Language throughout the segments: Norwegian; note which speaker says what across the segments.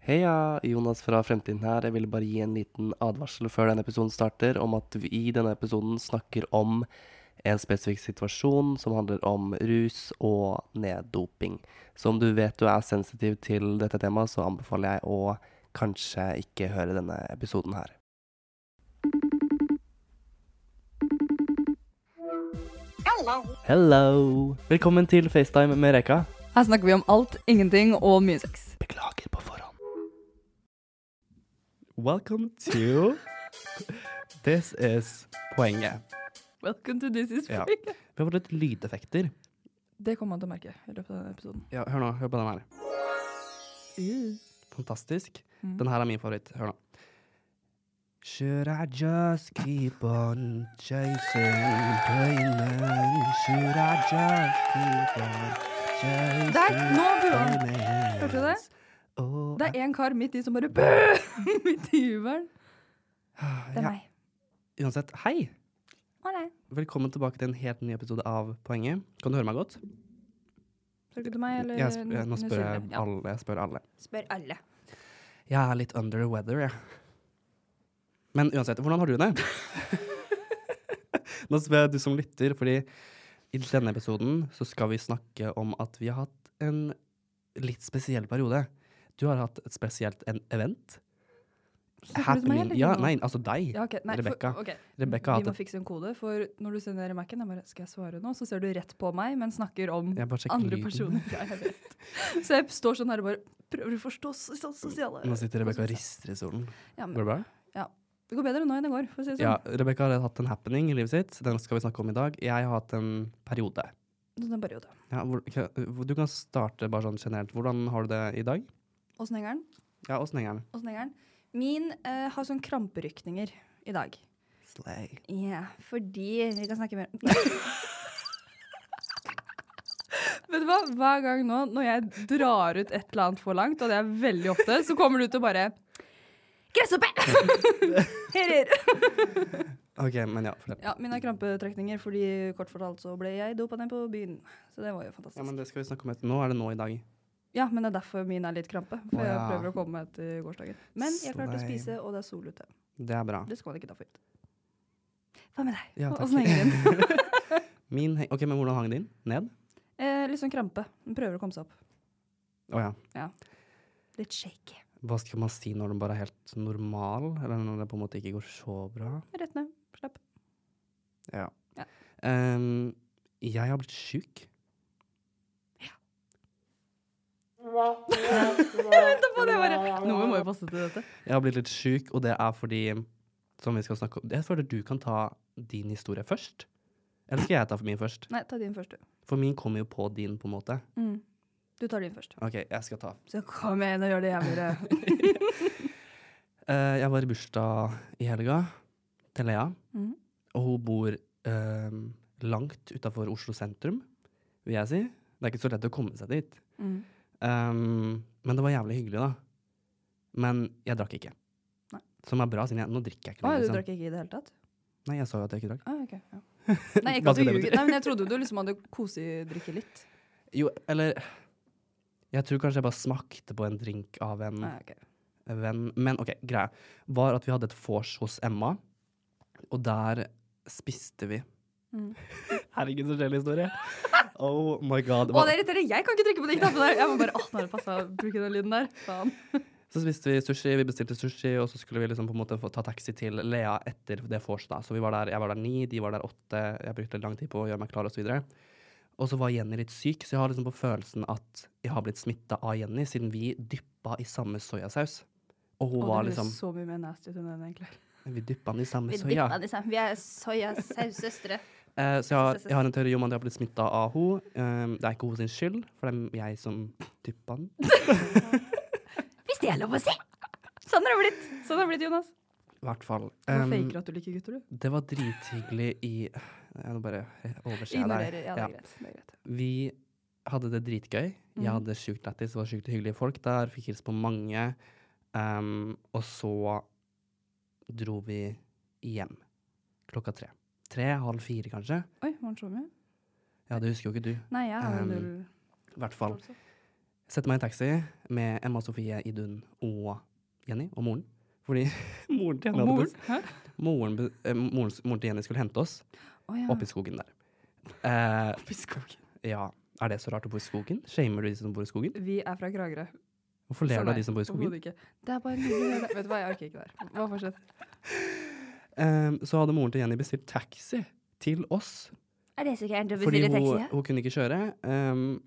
Speaker 1: Heia, Jonas fra Fremtiden her. Jeg ville bare gi en liten advarsel før denne episoden starter, om at vi i denne episoden snakker om en spesifikk situasjon som handler om rus og neddoping. Så om du vet du er sensitiv til dette temaet, så anbefaler jeg å kanskje ikke høre denne episoden her. Hello. Velkommen til FaceTime med Reka.
Speaker 2: Her snakker vi om alt, ingenting og mye sex.
Speaker 1: Beklager på forhånd. Welcome to This is poenget.
Speaker 2: Welcome to this is
Speaker 1: Ja. Vi har fått litt lydeffekter.
Speaker 2: Det kommer man til å merke i løpet av denne episoden.
Speaker 1: Ja, hør nå, hør på den her.
Speaker 2: Mm.
Speaker 1: Fantastisk. Den her er min favoritt. Hør nå. Should I just keep on chasing dreaming? Should I just keep on chasing
Speaker 2: Der, nå burde han.
Speaker 1: dreaming?
Speaker 2: Hørte du det?
Speaker 1: Oh,
Speaker 2: Det er en kar midt i som bare bø! Midt i jubelen. Det er
Speaker 1: ja.
Speaker 2: meg.
Speaker 1: Uansett, hei!
Speaker 2: Å nei.
Speaker 1: Velkommen tilbake til en helt ny episode av Poenget. Kan du høre meg godt?
Speaker 2: Snakker du til meg, eller
Speaker 1: Jeg, sp- nå
Speaker 2: Nils
Speaker 1: spør jeg
Speaker 2: Hilde? Ja.
Speaker 1: alle. Jeg spør alle.
Speaker 2: Spør alle.
Speaker 1: Jeg er litt under the weather, jeg. Men uansett, hvordan har du det? Nå spør jeg du som lytter, fordi i denne episoden så skal vi snakke om at vi har hatt en litt spesiell periode. Du har hatt et spesielt en event.
Speaker 2: Snakker du til meg, eller?
Speaker 1: ja,
Speaker 2: nå?
Speaker 1: nei, altså deg.
Speaker 2: Ja, ok. Nei,
Speaker 1: Rebecca.
Speaker 2: For, ok.
Speaker 1: Rebecca har
Speaker 2: Vi må
Speaker 1: hatt et
Speaker 2: fikse en kode, for når du sender Mac-en, jeg bare Skal jeg svare nå? Så ser du rett på meg, men snakker om
Speaker 1: Jeg bare sjekker
Speaker 2: andre
Speaker 1: lyden.
Speaker 2: personer. Ja, jeg vet. Så jeg står sånn her og bare prøver å forstå sos- sosiale
Speaker 1: Nå sitter Rebekka og rister i stolen.
Speaker 2: Ja, men
Speaker 1: Går det bra?
Speaker 2: Det går bedre nå enn det går, for å si det
Speaker 1: Ja,
Speaker 2: sånn.
Speaker 1: Rebekka har hatt en happening i livet sitt. Den skal vi snakke om i dag. Jeg har hatt en periode.
Speaker 2: Så det er bare å ta.
Speaker 1: Ja, hvor, hvor- du kan starte bare sånn generelt. Hvordan har du det i dag?
Speaker 2: Åssen henger den?
Speaker 1: Ja, åssen henger den?
Speaker 2: Åssen henger den? Min eh, har sånn kramperykninger i dag.
Speaker 1: Slay.
Speaker 2: Ja, fordi Vi kan snakke mer om Vet du hva? Hver gang nå, når jeg drar ut et eller annet for langt, og det er veldig ofte, så kommer du til å bare Gresshoppe! Herrer!
Speaker 1: Ok, men ja, fortell.
Speaker 2: Ja, mine er krampetrekninger fordi kort fortalt så ble jeg dopa ned på byen. Så det var jo fantastisk.
Speaker 1: Ja, men det skal vi snakke om etterpå. Nå er det nå i dag.
Speaker 2: det er derfor min er litt krampe. For
Speaker 1: Å,
Speaker 2: jeg
Speaker 1: ja.
Speaker 2: prøver å komme meg etter gårsdagen. Men jeg klarte å
Speaker 1: Slay.
Speaker 2: spise, og det er sol ute.
Speaker 1: Det er bra.
Speaker 2: Det skal man ikke ta for gitt. Hva med deg?
Speaker 1: Ja, takk.
Speaker 2: Åssen henger den?
Speaker 1: Min heng- ok, men hvordan hang din? Ned?
Speaker 2: Eh, litt sånn krampe. Den prøver å komme seg opp.
Speaker 1: Å ja.
Speaker 2: Litt shaky.
Speaker 1: Hva skal man si når den bare er helt normal? Eller når det på en måte ikke går så bra?
Speaker 2: Rett ned. Slapp.
Speaker 1: Ja.
Speaker 2: Ja.
Speaker 1: Ehm, jeg har blitt sjuk.
Speaker 2: Vent på det, bare. Noe må jo passe til dette.
Speaker 1: Jeg har blitt litt sjuk, og det er fordi Som vi skal snakke om Jeg føler du kan ta din historie først. Eller skal jeg ta min først?
Speaker 2: Nei, ta din først, du.
Speaker 1: For min kommer jo på din, på en måte.
Speaker 2: Du tar din først.
Speaker 1: OK, jeg skal ta
Speaker 2: Mm. Så kom igjen og gjør det jævligere.
Speaker 1: Eh, jeg var i bursdag i helga til Lea,
Speaker 2: Mhm.
Speaker 1: og hun bor eh, langt utafor Oslo sentrum, vil jeg si. Det er ikke så lett å komme seg dit.
Speaker 2: Mm.
Speaker 1: Um, men det var jævlig hyggelig, da. Men jeg drakk ikke.
Speaker 2: Nei.
Speaker 1: Som er bra, siden jeg, nå drikker jeg ikke
Speaker 2: Å,
Speaker 1: lenger,
Speaker 2: du
Speaker 1: liksom.
Speaker 2: drakk ikke i det hele tatt?
Speaker 1: Nei, jeg sa jo at jeg ikke drakk.
Speaker 2: Å, Ah, ok. Ja. Nei,
Speaker 1: Hva
Speaker 2: ikke at du
Speaker 1: skal det
Speaker 2: ljuger.
Speaker 1: bety?
Speaker 2: Nei, men jeg trodde du liksom hadde kosedrikke litt.
Speaker 1: Jo, eller Jeg tror kanskje jeg bare smakte på en drink av en
Speaker 2: Nei, ok.
Speaker 1: venn. Men ok, greia var at vi hadde et vors hos Emma, og der spiste vi.
Speaker 2: Mm.
Speaker 1: Herregud, så kjedelig historie. Oh my god.
Speaker 2: Å, det irriterer! Jeg kan ikke trykke på de knappene der! Jeg må bare, åh, nå har det passa å bruke den lyden der. Faen.
Speaker 1: Så spiste vi sushi, vi bestilte sushi, og så skulle vi liksom på en måte få ta taxi til Lea etter det vorset. da. Så vi var der, jeg var der ni, de var der åtte, jeg brukte lang tid på å gjøre meg klar, og så videre. Og så var Jenny litt syk, så jeg har liksom på følelsen at jeg har blitt smitta av Jenny, siden vi dyppa i samme soyasaus. Og hun
Speaker 2: Å,
Speaker 1: var
Speaker 2: det
Speaker 1: liksom
Speaker 2: høres så mye mer nasty ut enn den, egentlig.
Speaker 1: Vi dyppa den i samme soya.
Speaker 2: Vi er soyasaussøstre.
Speaker 1: Eh, så jeg har, jeg har en teori om at jeg har blitt smitta av henne. Eh, det er ikke hennes skyld, for det er jeg som dyppa den.
Speaker 2: Hvis det er lov å si! Sånn har det blitt, sånn har det blitt Jonas.
Speaker 1: I hvert fall.
Speaker 2: Du
Speaker 1: Eh,
Speaker 2: faker at du liker gutter, du.
Speaker 1: det var drithyggelig i Jeg nå bare overser jeg deg.
Speaker 2: Ignorerer. Ja, det
Speaker 1: Ja.
Speaker 2: er greit. Det er greit.
Speaker 1: Vi hadde det dritgøy.
Speaker 2: Mm.
Speaker 1: Jeg hadde sjukt lættis, det var sjukt hyggelige folk der. Fikk hilse på mange. Ehm, og så dro vi hjem klokka tre. Tre, halv fire kanskje.
Speaker 2: Oi, var den så mye?
Speaker 1: Ja, det husker jo ikke du.
Speaker 2: Nei, jeg har
Speaker 1: Um,
Speaker 2: null Altså.
Speaker 1: I hvert fall.
Speaker 2: forståelse.
Speaker 1: Setter meg i en taxi med Emma Sofie, Idun og Jenny og moren. Fordi moren til Jenny hadde
Speaker 2: Moren?
Speaker 1: bes-
Speaker 2: Hæ?
Speaker 1: moren, be- eh, moren, moren til Jenny skulle hente oss
Speaker 2: Å ja.
Speaker 1: oppe i skogen der. Eh,
Speaker 2: Oppi skogen.
Speaker 1: ja, er det så rart å bo i skogen? Shamer du de som bor i skogen?
Speaker 2: Vi er fra Kragerø.
Speaker 1: Hvorfor ler du
Speaker 2: Så
Speaker 1: av
Speaker 2: nei,
Speaker 1: de som bor i skogen?
Speaker 2: overhodet ikke. Det er bare hyggelig. å gjøre det. Vet du hva, jeg orker ikke det her. Bare fortsett.
Speaker 1: Ehm, så hadde moren til Jenny bestilt taxi til oss.
Speaker 2: Er det så gærent å
Speaker 1: Fordi hun, hun kunne ikke kjøre. ehm,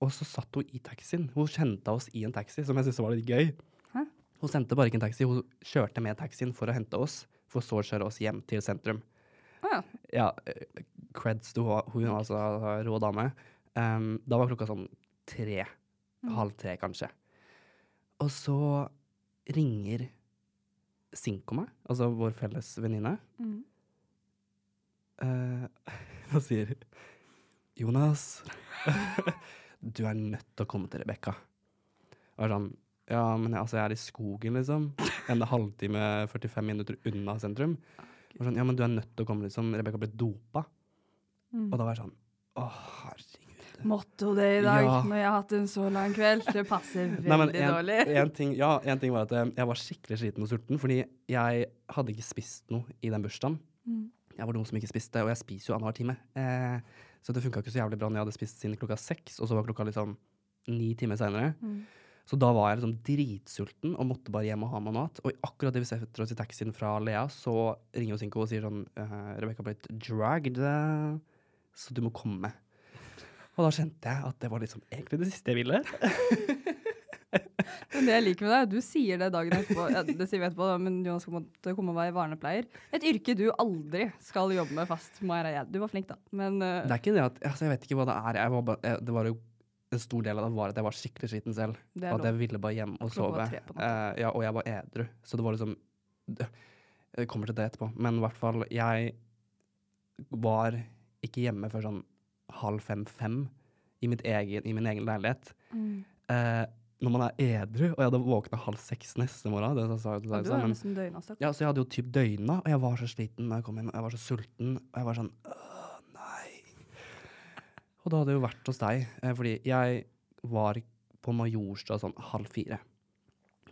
Speaker 1: og så satt hun i taxien. Hun sendte oss i en taxi, som jeg syntes var litt gøy.
Speaker 2: Hæ?
Speaker 1: Hun sendte bare ikke en taxi, hun kjørte med taxien for å hente oss, for så å kjøre oss hjem til sentrum.
Speaker 2: Å ja.
Speaker 1: Ja, eh, creds til hun, hun altså rå dame. Ehm, da var klokka sånn tre. Halv tre, kanskje. Og så ringer Sinko meg, altså vår felles venninne.
Speaker 2: Mm.
Speaker 1: Eh, og sier Jonas, du er nødt til å komme til Rebekka. Og jeg er sånn Ja, men jeg, altså, jeg er i skogen, liksom. En halvtime, 45 minutter unna sentrum. Og sånn, ja, men du er nødt til å komme, liksom. Rebekka ble dopa.
Speaker 2: Mm.
Speaker 1: Og da var jeg sånn Å, herregud.
Speaker 2: Motto det i dag,
Speaker 1: Ja.
Speaker 2: når jeg har hatt en så lang kveld. Det passer veldig
Speaker 1: Nei, men en,
Speaker 2: dårlig.
Speaker 1: en ting, ja, en ting var at eh, jeg var skikkelig sliten og sulten, fordi jeg hadde ikke spist noe i den bursdagen.
Speaker 2: Mm.
Speaker 1: Jeg var dum som ikke spiste, og jeg spiser jo annenhver time. Eh, så det funka ikke så jævlig bra når jeg hadde spist siden klokka seks, og så var klokka liksom ni timer seinere.
Speaker 2: Mm.
Speaker 1: Så da var jeg liksom dritsulten og måtte bare hjem og ha meg mat. Og akkurat det vi setter oss i taxien fra Lea, så ringer jo Sinko og sier sånn uh, 'Rebekka har blitt dragged, eh, så du må komme'. Og da kjente jeg at det var liksom egentlig det siste jeg ville.
Speaker 2: Men det jeg liker med deg, er at du sier det dagen etterpå. Ja, det sier vi etterpå, da, men Jonas måtte komme og være vernepleier. Et yrke du aldri skal jobbe med fast. må jeg regne. Du var flink, da, men eh,
Speaker 1: Det er ikke det at altså Jeg vet ikke hva det er. Jeg var bare, jeg, det var jo en stor del av det var at jeg var skikkelig sliten selv. Og
Speaker 2: det er
Speaker 1: at jeg
Speaker 2: lov.
Speaker 1: ville bare hjem og
Speaker 2: Klokka
Speaker 1: sove.
Speaker 2: var tre på natta.
Speaker 1: Eh, ja, og jeg var edru. Så det var liksom det- Jeg kommer til det etterpå. Men i hvert fall, jeg var ikke hjemme før sånn halv fem-fem i, mitt egen- i min egen leilighet.
Speaker 2: Mm.
Speaker 1: Eh, når man er edru, og jeg hadde våkna halv seks neste morgen det sa- sa- sa-
Speaker 2: Ja, du
Speaker 1: sa-
Speaker 2: har
Speaker 1: sånn, men-
Speaker 2: nesten døgnavstøt.
Speaker 1: ja, så jeg hadde jo typ døgna, og jeg var så sliten da jeg kom hjem. og Jeg var så sulten, og jeg var sånn Åh, nei. Og da hadde jeg jo vært hos deg, eh, fordi jeg var på Majorstua sånn halv fire.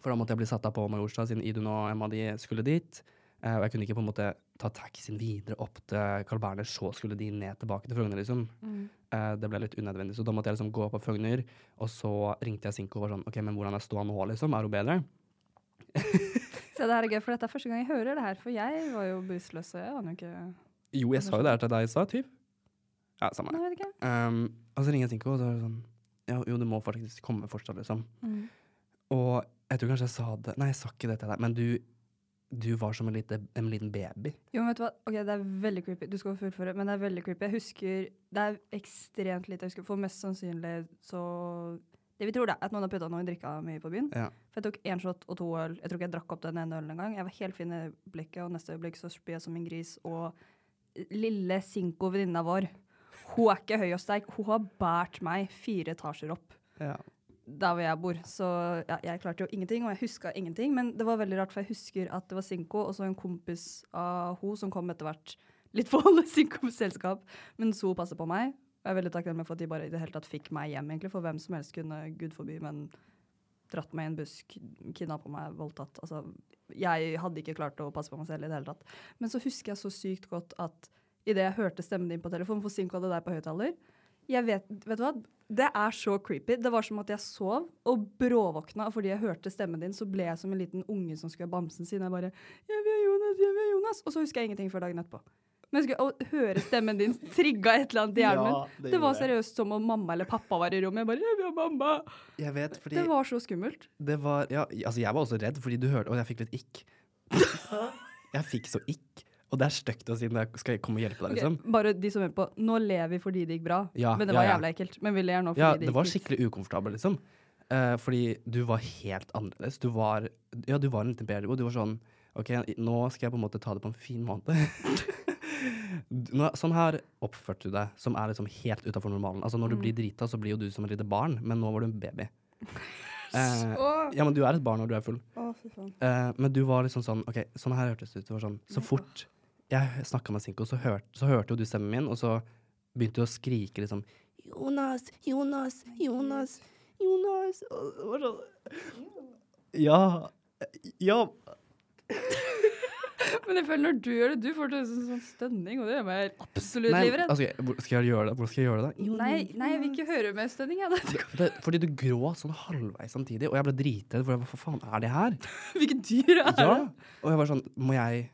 Speaker 1: For da måtte jeg bli satt av på Majorstua, siden Idun og Emma de skulle dit. eh, Og jeg kunne ikke på en måte ta taxien videre opp til Carl Berner, så skulle de ned tilbake til Frogner, liksom.
Speaker 2: Mm.
Speaker 1: Eh, Det ble litt unødvendig, så da måtte jeg liksom gå opp på Frogner, og så ringte jeg Sinko og var sånn OK, men hvordan er ståa nå, liksom? Er hun bedre?
Speaker 2: Se, det her er gøy, for dette er første gang jeg hører det her. For jeg var jo bevisstløs, og jeg aner jo ikke
Speaker 1: Jo, jeg sa jo det her til deg i stad, typ. Ja, samme
Speaker 2: Nei,
Speaker 1: det.
Speaker 2: jeg vet ikke.
Speaker 1: Um, og så ringer jeg Sinko, og så er det sånn ja, Jo, du må faktisk komme fortsatt, liksom.
Speaker 2: Mm.
Speaker 1: Og jeg tror kanskje jeg sa det Nei, jeg sa ikke det til deg, men du, du var som en, lite, en liten baby.
Speaker 2: Jo, men vet du hva? Ok, Det er veldig creepy. Du skal få fullføre, men det er veldig creepy. Jeg husker, Det er ekstremt lite jeg husker. For mest sannsynlig så Det vi tror, det er at noen har putta noe i drikka mi på byen.
Speaker 1: Ja.
Speaker 2: For jeg tok én shot og to øl. Jeg tror ikke jeg drakk opp den ene ølen engang. Jeg var helt fin i blikket, og neste øyeblikk så spyr jeg som en gris. Og lille Sinko, venninna vår, hun er ikke høy og sterk. Hun har båret meg fire etasjer opp
Speaker 1: Ja.
Speaker 2: der hvor jeg bor. Så ja, jeg klarte jo ingenting, og jeg huska ingenting. Men det var veldig rart, for jeg husker at det var Sinko og så en kompis av hun som kom etter hvert. Litt på alle Sinkos selskap. Mens hun passer på meg. Og jeg er veldig takknemlig for at de bare i det hele tatt fikk meg hjem, egentlig. For hvem som helst kunne, gud forby, men dratt meg i en busk, kidnappa meg, voldtatt. Altså, jeg hadde ikke klart å passe på meg selv i det hele tatt. Men så husker jeg så sykt godt at idet jeg hørte stemmen din på telefonen, for Sinko hadde deg på høyttaler jeg vet, vet du hva? Det er så creepy. Det var som at jeg sov og bråvåkna, og fordi jeg hørte stemmen din, så ble jeg som en liten unge som skulle ha bamsen sin. Jeg bare Jeg vil ha Jonas, jeg vil ha Jonas. Og så husker jeg ingenting før dagen etterpå. Men jeg husker, å høre stemmen din trigga et eller annet i hjernen min. Det, var seriøst som om mamma eller pappa var i rommet. Jeg bare Jeg vil ha mamma.
Speaker 1: Jeg vet, fordi
Speaker 2: Det var så skummelt.
Speaker 1: ja, Altså, jeg var også redd, fordi du hørte Og jeg fikk litt ikk. jeg fikk så ikk. Og det er stygt å si når jeg skal komme og hjelpe deg, liksom.
Speaker 2: Ok, Bare de som hører på. Nå ler vi fordi det gikk bra.
Speaker 1: Ja,
Speaker 2: men det
Speaker 1: ja,
Speaker 2: var
Speaker 1: ja.
Speaker 2: jævla ekkelt. Men vi ler nå fordi
Speaker 1: Ja,
Speaker 2: det
Speaker 1: det
Speaker 2: gikk
Speaker 1: var
Speaker 2: fint.
Speaker 1: skikkelig ukomfortabel, liksom. Eh, fordi du var helt annerledes. Du var, ja, du var en liten bedre, og du var sånn OK, nå skal jeg på en måte ta det på en fin måte. Nå, sånn her oppførte du deg, som er liksom helt utafor normalen. Altså Når du blir drita, så blir jo du som et lite barn, men nå var du en baby. Eh,
Speaker 2: Å,
Speaker 1: ja, men du er et barn når du er full.
Speaker 2: å, fy faen.
Speaker 1: Eh, men du var liksom sånn OK, sånn her hørtes det ut. Det var sånn, så fort jeg snakka med Sinko, så, hørte- så hørte jo du stemmen min, og så begynte du å skrike liksom Jonas, Jonas, Jonas, Jonas. Og det var sånn Ja. Ja.
Speaker 2: Men jeg føler når du gjør det, du får til sånn, sånn stønning, og det gjør meg absolutt
Speaker 1: Nei,
Speaker 2: livredd.
Speaker 1: altså, hvor- skal jeg gjøre det? Hvordan skal jeg gjøre det? da?
Speaker 2: Nei, nei, jeg vil ikke høre mer stønning. Jeg.
Speaker 1: Det,
Speaker 2: Det-
Speaker 1: fordi du gråt sånn halvveis samtidig, og jeg ble dritredd. For jeg var, hva faen er det her?
Speaker 2: Hvilket dyr er det?
Speaker 1: Ja. Og jeg var sånn Må jeg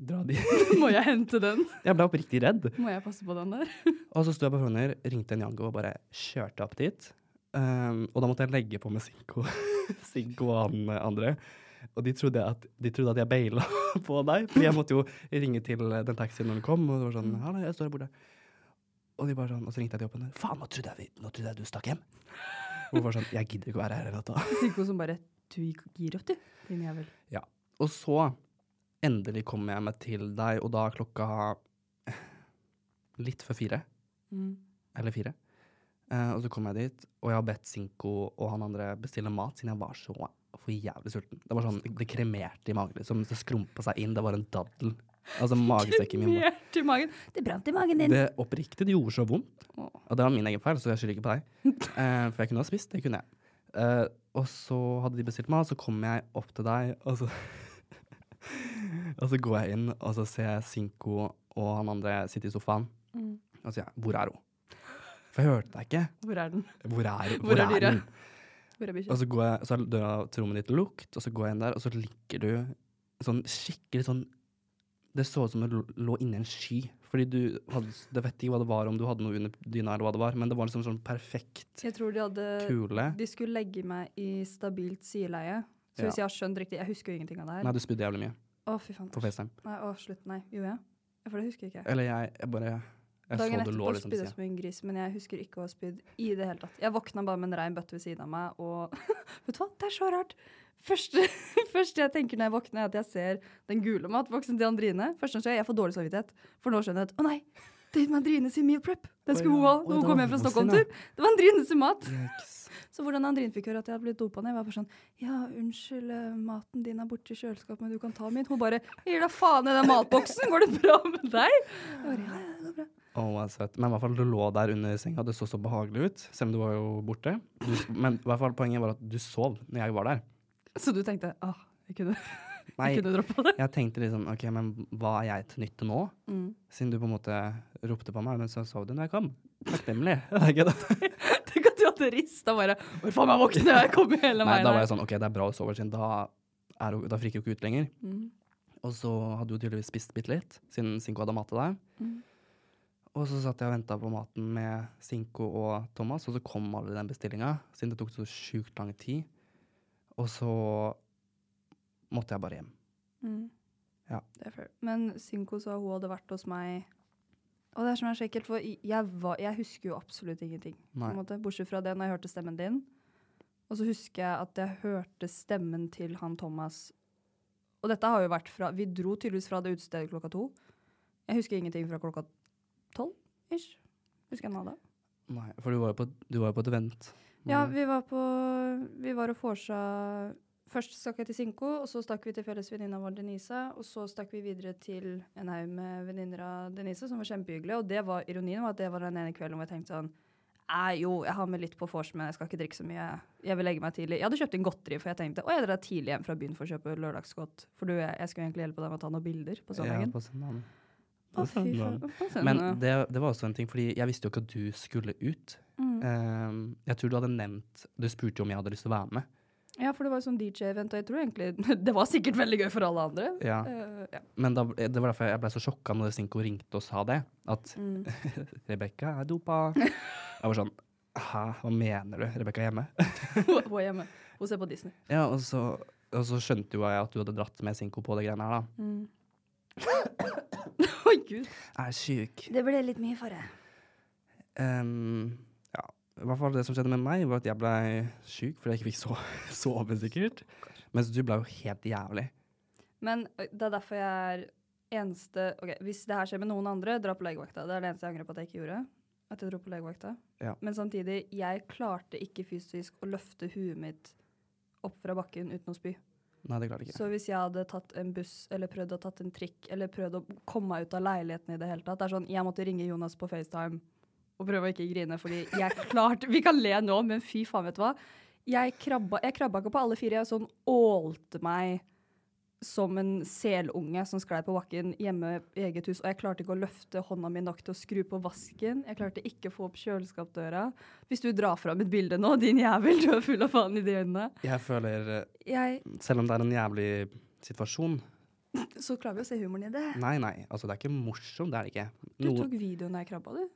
Speaker 1: dra dit?
Speaker 2: Må jeg hente den?
Speaker 1: Jeg ble oppriktig redd.
Speaker 2: Må jeg passe på den der?
Speaker 1: Og så sto jeg på Frogner, ringte en Jango og bare kjørte opp dit. Um, og da måtte jeg legge på med Sinko, Sinko og han eh, andre. Og de trodde at, de trodde at jeg baila på deg, for jeg måtte jo ringe til eh, den taxien når den kom. Og det var sånn, «Hallo, jeg står her borte. Og, de bare sånn, og så ringte jeg til jobben. der, Faen, nå trodde jeg, vi, nå trodde jeg du stakk hjem. Og hun var sånn, jeg gidder ikke å være her hele natta.
Speaker 2: Siggo som bare Du gir opp, du. Din jævel.
Speaker 1: Og så endelig kom jeg meg til deg, og da klokka litt før fire.
Speaker 2: Mm.
Speaker 1: eller fire. Eh, og så kom jeg dit, og jeg har bedt Sinko og han andre bestille mat, siden jeg var så for jævlig sulten. Det var sånn, det kremerte i magen, liksom. Det skrumpa seg inn. Det var en daddel. Altså magesekken min. var-
Speaker 2: Kremert i magen. Det brant i magen din.
Speaker 1: Det oppriktig, det gjorde så vondt.
Speaker 2: Åh.
Speaker 1: Og det var min egen feil, så jeg skylder ikke på deg. Eh, for jeg kunne ha spist, det kunne jeg. Eh, og så hadde de bestilt mat, så kom jeg opp til deg, og så Og så går jeg inn, og så ser jeg Sinko og han andre sitte i sofaen,
Speaker 2: Mm.
Speaker 1: og så sier jeg 'Hvor er hun?' For jeg hørte deg ikke.
Speaker 2: Hvor er den?
Speaker 1: Hvor er, hvor
Speaker 2: Hvor er
Speaker 1: er
Speaker 2: dyret?
Speaker 1: den?
Speaker 2: Hvor er bikkja?
Speaker 1: Og så, går jeg, så er døra til rommet ditt lukt, og så går jeg inn der, og så ligger du sånn skikkelig sånn Det så ut som du l- lå inni en sky. Fordi du hadde Det vet ikke hva det var, om du hadde noe under dyna, eller hva det var, men det var liksom sånn perfekt
Speaker 2: Jeg tror de hadde
Speaker 1: kule.
Speaker 2: Eh, De skulle legge meg i stabilt sideleie. Så hvis jeg har skjønt riktig Jeg husker jo ingenting av det her.
Speaker 1: Nei, du spydde jævlig mye
Speaker 2: Å, fy faen.
Speaker 1: på FaceTime.
Speaker 2: Nei, å, slutt. Nei. Gjorde jeg? Ja, For det husker ikke jeg.
Speaker 1: Eller jeg, jeg bare Jeg så du
Speaker 2: Dagen etterpå
Speaker 1: lå liksom
Speaker 2: spydde jeg
Speaker 1: siden.
Speaker 2: som en gris, men jeg husker ikke å ha spydd i det hele tatt. Jeg våkna bare med en rein bøtte ved siden av meg, og Vet du hva, det er så rart! Første, første jeg tenker når jeg våkner, er at jeg ser den gule matboksen til Andrine. Første gang skjer, jeg får dårlig samvittighet, for nå skjønner jeg at å nei, det er Andrine sin meal prep! Den
Speaker 1: Å
Speaker 2: skulle hun
Speaker 1: ja.
Speaker 2: ha
Speaker 1: Oi,
Speaker 2: når
Speaker 1: det
Speaker 2: hun kom
Speaker 1: var
Speaker 2: hjem fra
Speaker 1: hun sin,
Speaker 2: Stockholm-tur! Det var Andrine sin mat!
Speaker 1: Yikes.
Speaker 2: Så hvordan Andrine fikk høre at jeg hadde blitt dopa ned, var bare sånn Ja, unnskyld, eh, maten din er borte i kjøleskapet, men du kan ta min. Hun bare Gir da faen i den matboksen! Går det bra med deg? Jeg bare, ja, ja, det går bra.
Speaker 1: Å, hva søtt. Oh, Men i hvert fall, du lå der under senga, det så så behagelig ut, selv om du var jo borte. Du, men i hvert fall, poenget var at du sov når jeg var der.
Speaker 2: Så du tenkte ah, jeg kunne,
Speaker 1: Nei,
Speaker 2: jeg kunne droppa det?
Speaker 1: jeg tenkte liksom OK, men hva er jeg til nytte nå? Siden du på en måte ropte på meg, men så sov du når jeg kom. Takknemlig. Det er ikke det.
Speaker 2: Tenk at du hadde rista bare Hvor faen jeg våkne? Jeg kom i hele
Speaker 1: Nei,
Speaker 2: veien
Speaker 1: da var
Speaker 2: her.
Speaker 1: jeg sånn OK, det er bra hun sover, siden da, er hun, da friker hun ikke ut lenger.
Speaker 2: Mm.
Speaker 1: Og så hadde hun tydeligvis spist bitte litt, siden Sinko hadde mat til deg.
Speaker 2: Mm.
Speaker 1: Og så satt jeg og venta på maten med Sinko og Thomas, og så kom aldri den bestillinga, siden det tok så sjukt lang tid. Og så måtte jeg bare hjem.
Speaker 2: Mm.
Speaker 1: Ja.
Speaker 2: Det er fair. Men Sinko sa hun hadde vært hos meg Og det er som er så ekkelt, for jeg, var, jeg husker jo absolutt ingenting. På
Speaker 1: Nei.
Speaker 2: en måte, bortsett fra det når jeg hørte stemmen din. Og så husker jeg at jeg hørte stemmen til han Thomas. Og dette har jo vært fra Vi dro tydeligvis fra det utestedet klokka to. Jeg husker ingenting fra klokka tolv ish. Husker jeg noe av det.
Speaker 1: Nei, for du var jo på, du var jo på et event. Mm.
Speaker 2: Ja, vi var på Vi var og vorsa Først stakk jeg til Sinko, og så stakk vi til felles venninna vår Denise. Og så stakk vi videre til en haug med venninner av Denise, som var kjempehyggelig. Og det var, ironien var at det var den ene kvelden hvor jeg tenkte sånn Nei, jo, jeg har med litt på vors, men jeg skal ikke drikke så mye. Jeg vil legge meg tidlig. Jeg hadde kjøpt inn godteri, for jeg tenkte å, jeg drar tidlig hjem fra byen for å kjøpe lørdagsgodt. For du, jeg, jeg skulle egentlig hjelpe deg med å ta noen bilder på
Speaker 1: Ja,
Speaker 2: søndagen.
Speaker 1: på søndagen.
Speaker 2: Å, fy faen. Å, søndagen.
Speaker 1: Men det, det var også en ting, fordi jeg visste jo ikke at du skulle ut.
Speaker 2: Mm.
Speaker 1: Ehm, jeg tror du hadde nevnt Du spurte jo om jeg hadde lyst til å være med.
Speaker 2: Ja, for det var jo sånn DJ-event, og jeg tror egentlig Det var sikkert veldig gøy for alle andre.
Speaker 1: Ja.
Speaker 2: Eh, ja.
Speaker 1: Men da, det var derfor jeg ble så sjokka når Sinko ringte og sa det. At
Speaker 2: Mm.
Speaker 1: 'Rebekka er dopa'. Jeg var sånn Hæ, hva mener du? Rebekka er hjemme?
Speaker 2: Hun hun er hjemme. Hun ser på Disney. Mm.
Speaker 1: Ja, og så, og så skjønte jo jeg at du hadde dratt med Sinko på det greiene her, da.
Speaker 2: Å, gud.
Speaker 1: Er sjuk.
Speaker 2: Det ble litt mye fare.
Speaker 1: Ehm, ja, i hvert fall det som skjedde med meg, var at jeg blei sjuk fordi jeg ikke fikk so- sove, sikkert. Mens du blei jo helt jævlig.
Speaker 2: Men ø, det er derfor jeg er eneste Ok, Hvis det her skjer med noen andre, dra på legevakta. Det er det eneste jeg angrer på at jeg ikke gjorde. At jeg dro på legevakta.
Speaker 1: Ja.
Speaker 2: Men samtidig, jeg klarte ikke fysisk å løfte huet mitt opp fra bakken uten å spy.
Speaker 1: Nei, det klarte jeg ikke.
Speaker 2: Så hvis jeg hadde tatt en buss, eller prøvd å tatt en trikk, eller prøvd å komme meg ut av leiligheten i det hele tatt, det er sånn, jeg måtte ringe Jonas på FaceTime og prøve å ikke grine, fordi jeg klarte, vi kan le nå, men fy faen, vet du hva? Jeg krabba, jeg krabba ikke på alle fire, jeg sånn ålte meg som en selunge som sklei på bakken hjemme i eget hus, og jeg klarte ikke å løfte hånda mi nok til å skru på vasken, jeg klarte ikke å få opp kjøleskapdøra. Hvis du drar fram et bilde nå, din jævel, du er full av faen i de øynene.
Speaker 1: Jeg føler, eh,
Speaker 2: Jeg,
Speaker 1: selv om det er en jævlig situasjon
Speaker 2: så klarer vi å se humoren i det.
Speaker 1: Nei, nei, altså det er ikke morsomt, det er det ikke.
Speaker 2: Du
Speaker 1: Noe-
Speaker 2: tok videoen da jeg krabba, du?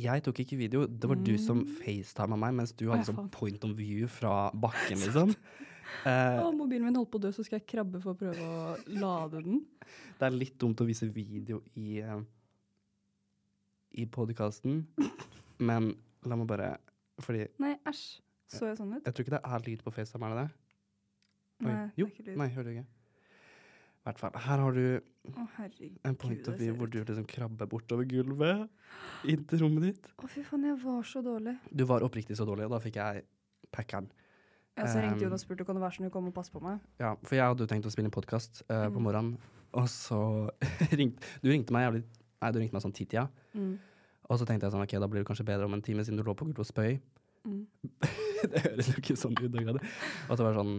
Speaker 1: Jeg tok ikke video. Det var du som facetima meg mens du hadde
Speaker 2: Mm. ja,
Speaker 1: sånn
Speaker 2: faen.
Speaker 1: point of view fra bakken, liksom. Eh,
Speaker 2: Å, mobilen min holdt på å dø, så skal jeg krabbe for å prøve å lade den.
Speaker 1: det er litt dumt å vise video i, eh, i podkasten, men la meg bare Fordi
Speaker 2: Nei, æsj. Så jeg sånn ut?
Speaker 1: jeg tror ikke det er lyd på FaceTime, er det det? Oi.
Speaker 2: Nei,
Speaker 1: jo.
Speaker 2: det er ikke lyd.
Speaker 1: Nei, hører du ikke? I hvert fall. Her har du
Speaker 2: Å, herregud.
Speaker 1: en point of
Speaker 2: det
Speaker 1: view
Speaker 2: ser
Speaker 1: hvor
Speaker 2: ut.
Speaker 1: du liksom krabber bortover gulvet inn til rommet ditt.
Speaker 2: Å, fy faen, jeg var så dårlig.
Speaker 1: Du var oppriktig så dårlig, og da fikk jeg packeren.
Speaker 2: Ja, så jeg
Speaker 1: Um,
Speaker 2: ringte Jonas og spurte kan du være så snill å komme og passe på meg.
Speaker 1: Ja, for jeg hadde jo tenkt å spille en podkast på
Speaker 2: Mm.
Speaker 1: morgenen, og så ringte Du ringte meg jævlig Nei, du ringte meg sånn ti-tida,
Speaker 2: Mm.
Speaker 1: og så tenkte jeg sånn OK, da blir det kanskje bedre om en time, siden du lå på gulvet og spøy.
Speaker 2: Mm.
Speaker 1: det høres jo ikke sånn ut. det gjør det. Og så var det sånn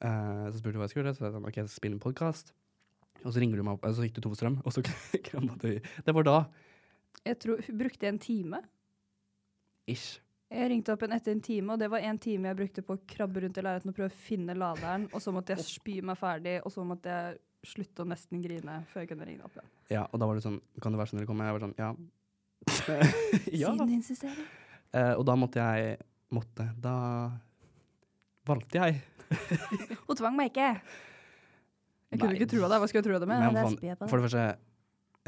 Speaker 1: eh, Så spurte du hva jeg skulle, så sa jeg sånn OK, jeg skal spille en podkast. Og så ringer du meg opp, eh, så gikk du tom for strøm, og så kramba du i. Det var da.
Speaker 2: Jeg tror, hun brukte en time.
Speaker 1: Ish.
Speaker 2: Jeg ringte opp en etter en time, og det var en time jeg brukte på å krabbe rundt i leiligheten og prøve å finne laderen, og så måtte jeg spy meg ferdig, og så måtte jeg slutte å nesten grine før jeg kunne ringe opp igjen.
Speaker 1: Ja, og da var det sånn Kan du være så snill å komme? Jeg var sånn Ja. ja.
Speaker 2: Siden du insisterer.
Speaker 1: Eh, og da måtte jeg Måtte. Da valgte jeg.
Speaker 2: Hun tvang meg ikke. Jeg kunne
Speaker 1: Nei,
Speaker 2: ikke trua det. Hva skulle jeg trua det med?
Speaker 1: Men
Speaker 2: Ja,
Speaker 1: faen,
Speaker 2: det spyr jeg på
Speaker 1: For det første,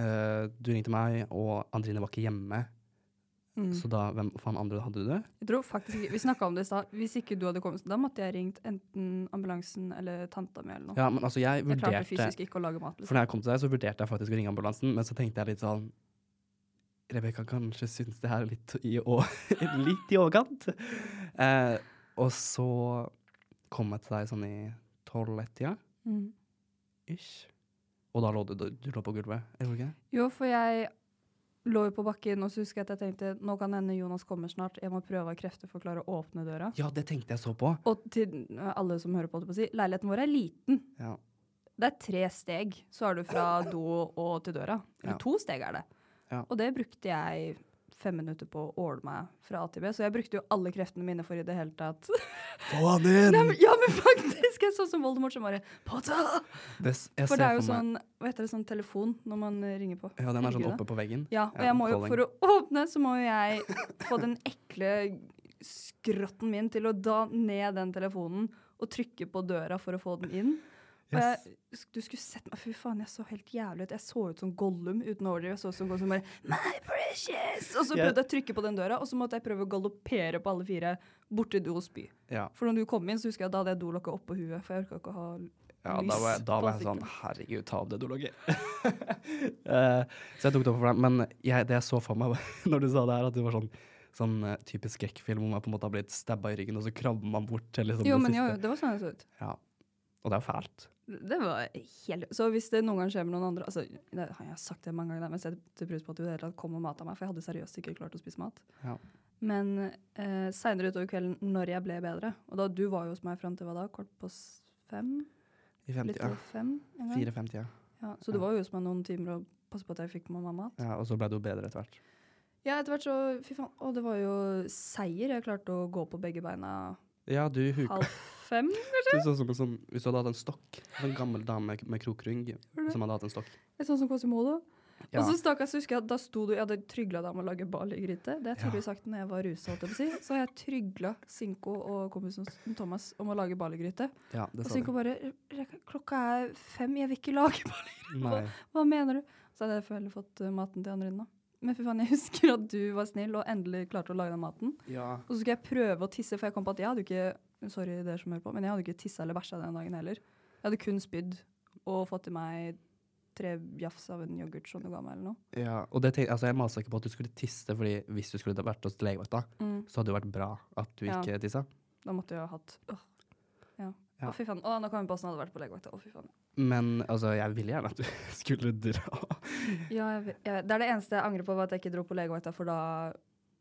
Speaker 1: eh, du ringte meg, og Andrine var ikke hjemme.
Speaker 2: det. Mm.
Speaker 1: Så da, hvem faen andre hadde du det?
Speaker 2: Jeg tror faktisk ikke, Vi snakka om det i stad. Hvis ikke du hadde kommet, da måtte jeg ringt enten ambulansen eller tanta mi. eller noe.
Speaker 1: Ja, men altså, jeg
Speaker 2: jeg klarte
Speaker 1: vurderte
Speaker 2: fysisk ikke å lage mat.
Speaker 1: For
Speaker 2: Liksom.
Speaker 1: når jeg kom til deg, så vurderte jeg faktisk å ringe ambulansen, men så tenkte jeg litt sånn Rebekka kanskje syns det her er litt i, å, litt i overkant. Eh, og så kom jeg til deg sånn i tolv-ett-tida
Speaker 2: Mm.
Speaker 1: ish. Og da lå du, du lå på gulvet, gjorde du ikke? det?
Speaker 2: Jo, for jeg lå jo på bakken, og så husker jeg at jeg tenkte nå kan hende Jonas kommer snart. Jeg må prøve av krefter for å klare å åpne døra.
Speaker 1: Ja, det tenkte jeg så på.
Speaker 2: Og til alle som hører på, holdt jeg på å si, leiligheten vår er liten.
Speaker 1: Ja.
Speaker 2: Det er tre steg, så er du fra do og til døra. Eller
Speaker 1: Ja.
Speaker 2: to steg er det.
Speaker 1: Ja.
Speaker 2: Og det brukte jeg fem minutter på å åle meg fra A til B, så jeg brukte jo alle kreftene mine for i det hele tatt
Speaker 1: Få han
Speaker 2: Nei,
Speaker 1: inn!
Speaker 2: men, ja, men faktisk! Jeg er sånn som Voldemort som bare Potter!
Speaker 1: Det, s- jeg
Speaker 2: For det
Speaker 1: ser
Speaker 2: er jo
Speaker 1: for meg
Speaker 2: sånn Hva heter det, sånn telefon når man eh, ringer på?
Speaker 1: Ja, den er sånn
Speaker 2: Herregud,
Speaker 1: oppe på veggen.
Speaker 2: Ja, og jeg må jo, for å åpne, så må jo jeg få den ekle skrotten min til å da ned den telefonen og trykke på døra for å få den inn. Og
Speaker 1: Yes.
Speaker 2: jeg, du skulle sett meg, fy faen, jeg så helt jævlig ut. Jeg så ut som Gollum uten å overdrive. Jeg så ut som Gollum som bare My precious! Og så
Speaker 1: Jeg-
Speaker 2: prøvde jeg å trykke på den døra, og så måtte jeg prøve å galoppere på alle fire borti do og spy.
Speaker 1: Ja,
Speaker 2: For når du kom inn, så husker jeg at da hadde jeg dolokket oppå huet, for jeg orka ikke å ha
Speaker 1: ja
Speaker 2: lys
Speaker 1: da, var jeg, da
Speaker 2: på
Speaker 1: var jeg sånn
Speaker 2: ansiktet.
Speaker 1: Herregud, ta av det, du logger. så jeg tok det opp for deg. Men jeg, det jeg så for meg når du sa det her, at det var sånn, sånn eh, typisk skrekkfilm hvor man på en måte har blitt stabba i ryggen, og så krabber man bort til liksom
Speaker 2: Jo,
Speaker 1: det
Speaker 2: men jo,
Speaker 1: siste.
Speaker 2: det var sånn jeg så ut.
Speaker 1: Ja. Og det er jo fælt.
Speaker 2: Det var helt Så hvis det noen gang skjer med noen andre altså, det, har Jeg har sagt det mange ganger, men jeg setter pris på at du i det hele tatt kom og mata meg, for jeg hadde seriøst ikke klart å spise mat.
Speaker 1: Ja.
Speaker 2: Men eh, seinere utover kvelden, når jeg ble bedre Og da du var jo hos meg fram til hva da? Kort på s- fem?
Speaker 1: I
Speaker 2: Litt
Speaker 1: femtida.
Speaker 2: over fem? En gang?
Speaker 1: Fire-femtida.
Speaker 2: Ja, så du var jo hos meg noen timer og passet på at jeg fikk med meg mat?
Speaker 1: Ja, og så ble det jo bedre etter hvert.
Speaker 2: Ja, etter hvert så Fy faen. Å, det var jo seier. Jeg klarte å gå på begge beina
Speaker 1: Ja, du huka
Speaker 2: halv fem.
Speaker 1: du så ut som en sånn- Hvis du hadde hatt en stokk, en sånn gammel dame med krokrygg som hadde hatt en stokk.
Speaker 2: Jeg er sånn som Quasimodo.
Speaker 1: Ja.
Speaker 2: Og så stakkars, husker jeg at da sto du Jeg hadde trygla deg med å lage ballegryte. Det har jeg tydeligvis sagt når jeg var rusa, holdt jeg på å si. Så har jeg trygla Sinko og kompisen Thomas om å lage ballegryte.
Speaker 1: Ja, det
Speaker 2: Og
Speaker 1: sa du.
Speaker 2: Sinko bare "Reka, Klokka er fem, jeg vil ikke lage ballegryte.
Speaker 1: Nei.
Speaker 2: Hva mener du? Så hadde jeg føler fått eh, maten til andre enden, da. Men fy faen, jeg husker at du var snill og endelig klarte å lage den maten.
Speaker 1: Ja.
Speaker 2: Og så skulle jeg prøve å tisse, for jeg kom på at jeg hadde jo ikke Sorry, dere som hører på, men jeg hadde ikke tissa eller bæsja den dagen heller. Jeg hadde kun spydd og fått i meg tre jafs av en yoghurt som du ga meg, eller noe.
Speaker 1: ja. Og det tenk, altså, jeg masa ikke på at du skulle tisse, fordi hvis du skulle vært hos legevakta, så hadde det vært bra at du
Speaker 2: Ja.
Speaker 1: ikke tissa.
Speaker 2: Da måtte jeg ha hatt Åh. Ja.
Speaker 1: Ja.
Speaker 2: Å, fy faen. Å, nå kan vi på åssen jeg hadde vært på legevakta. Å, fy faen.
Speaker 1: Men altså, jeg ville gjerne at du skulle dra.
Speaker 2: Ja, jeg vet, jeg vet. Det er det eneste jeg angrer på, var at jeg ikke dro på legevakta, for da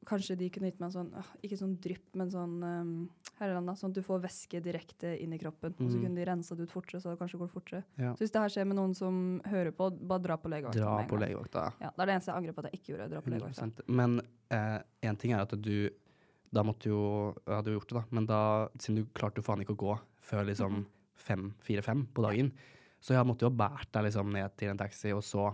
Speaker 2: kanskje de kunne gitt meg en sånn åh, Ikke sånn drypp, men sånn um, her eller annet, sånn at du får væske direkte inn i kroppen. Og så
Speaker 1: Mm.
Speaker 2: kunne de rensa det ut fortere, så det kanskje går fortere.
Speaker 1: Ja.
Speaker 2: Så hvis det her skjer med noen som hører på, bare dra på legevakta.
Speaker 1: Dra
Speaker 2: med en
Speaker 1: på
Speaker 2: gang.
Speaker 1: legevakta.
Speaker 2: Ja, det er det eneste jeg angrer på at jeg ikke gjorde. Dra på legevakta.
Speaker 1: 100%. Men én ting er at du Da måtte jo Hadde jo gjort det, da. Men da, siden du klarte jo faen ikke å gå før liksom fem, fire-fem på dagen, så jeg måtte jo ha båret deg liksom ned til en taxi, og så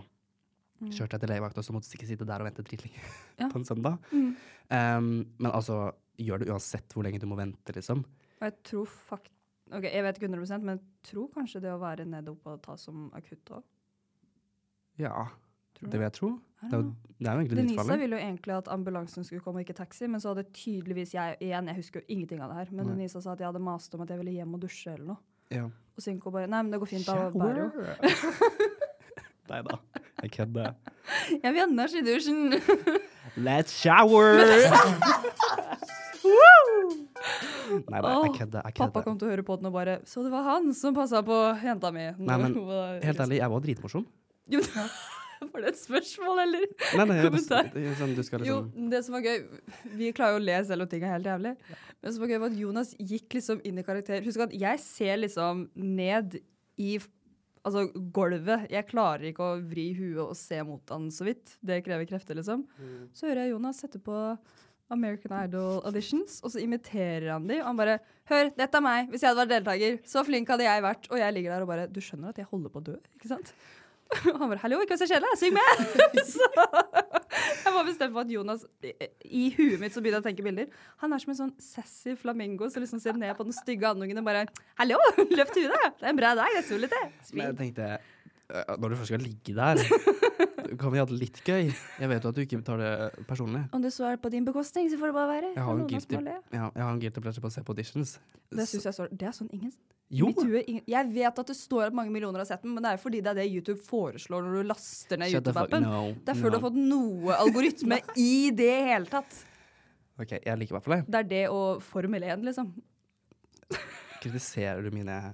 Speaker 1: kjørte jeg til legevakta, og så måtte du sikkert sitte der og vente dritlenge
Speaker 2: Mm. Ja.
Speaker 1: på en søndag.
Speaker 2: Mm.
Speaker 1: Em, men altså, gjør det uansett hvor lenge du må vente, liksom.
Speaker 2: Og jeg tror fakt... Ok, Jeg vet ikke 100 men jeg tror kanskje det å være nede oppe og ta som akutt òg.
Speaker 1: Ja,
Speaker 2: Tror du
Speaker 1: det vil jeg tro.
Speaker 2: I
Speaker 1: Det
Speaker 2: don't
Speaker 1: er,
Speaker 2: know.
Speaker 1: jo- det er jo egentlig ditt
Speaker 2: Denisa
Speaker 1: farlig.
Speaker 2: ville jo egentlig at ambulansen skulle komme, og ikke taxi, men så hadde tydeligvis jeg igjen, jeg husker jo ingenting av det her, men
Speaker 1: Nei.
Speaker 2: Denisa sa at jeg hadde mast om at jeg ville hjem og dusje eller noe.
Speaker 1: Ja.
Speaker 2: Og Synko bare Nei, men det går fint, da bærer jo.
Speaker 1: Nei da, jeg kødder.
Speaker 2: Jeg vil energi i dusjen!
Speaker 1: Let's shower! Nei da, jeg
Speaker 2: Åh,
Speaker 1: kødder. Jeg
Speaker 2: Pappa
Speaker 1: kødder.
Speaker 2: kom til å høre på den og bare Så det var han som passa på jenta mi.
Speaker 1: Nei, men,
Speaker 2: Hun var-
Speaker 1: Helt ærlig, jeg var dritmorsom.
Speaker 2: Jo, Var det et spørsmål, eller?
Speaker 1: Nei, nei, jeg bare-
Speaker 2: Kommentar.
Speaker 1: det er sånn, du skal
Speaker 2: Jo,
Speaker 1: liksom
Speaker 2: det som var gøy Vi klarer jo å le selv om ting er helt jævlig. Men det som var gøy, var at Jonas gikk liksom inn i karakter. Husk at jeg ser liksom ned i f- altså, gulvet. Jeg klarer ikke å vri huet og se mot han så vidt. Det krever krefter, liksom. Så hører jeg Jonas sette på American Idol auditions, og så imiterer han de, og han bare 'Hør, dette er meg. Hvis jeg hadde vært deltaker, så flink hadde jeg vært.' Og jeg ligger der og bare 'Du skjønner at jeg holder på å dø, ikke sant?' Og han bare 'Hallo, ikke vær så kjedelig, syng med!' så jeg var bestemt på at Jonas i- I huet mitt så begynte jeg å tenke bilder. Han er som en sånn sassy flamingo som liksom ser ned på den stygge andungen og bare 'Hallo, løft huet! Det er en bra dag, jeg soler til!'
Speaker 1: Men
Speaker 2: Smil.
Speaker 1: jeg tenkte øh, Når du først skal ligge der, kan vi ha det litt gøy? Jeg vet jo at du ikke tar det eh, personlig.
Speaker 2: Om det så er på din bekostning, så får det bare være.
Speaker 1: Jeg har jo en
Speaker 2: Noen av oss
Speaker 1: guilty,
Speaker 2: må le.
Speaker 1: ja, jeg har en guilty pleasure på å se på auditions.
Speaker 2: Det
Speaker 1: Så-
Speaker 2: synes jeg så, det er sånn ingen
Speaker 1: jo!
Speaker 2: Mitt hue, ingen, jeg vet at det står at mange millioner har sett den, men det er fordi det er det YouTube foreslår når du laster ned
Speaker 1: Shut the fuck-
Speaker 2: YouTube-appen.
Speaker 1: no,
Speaker 2: Det er før du
Speaker 1: no.
Speaker 2: har fått noe algoritme i det hele tatt.
Speaker 1: OK, jeg liker i hvert fall det.
Speaker 2: Det er det og Formel 1, liksom.
Speaker 1: Kritiserer du mine
Speaker 2: Ja.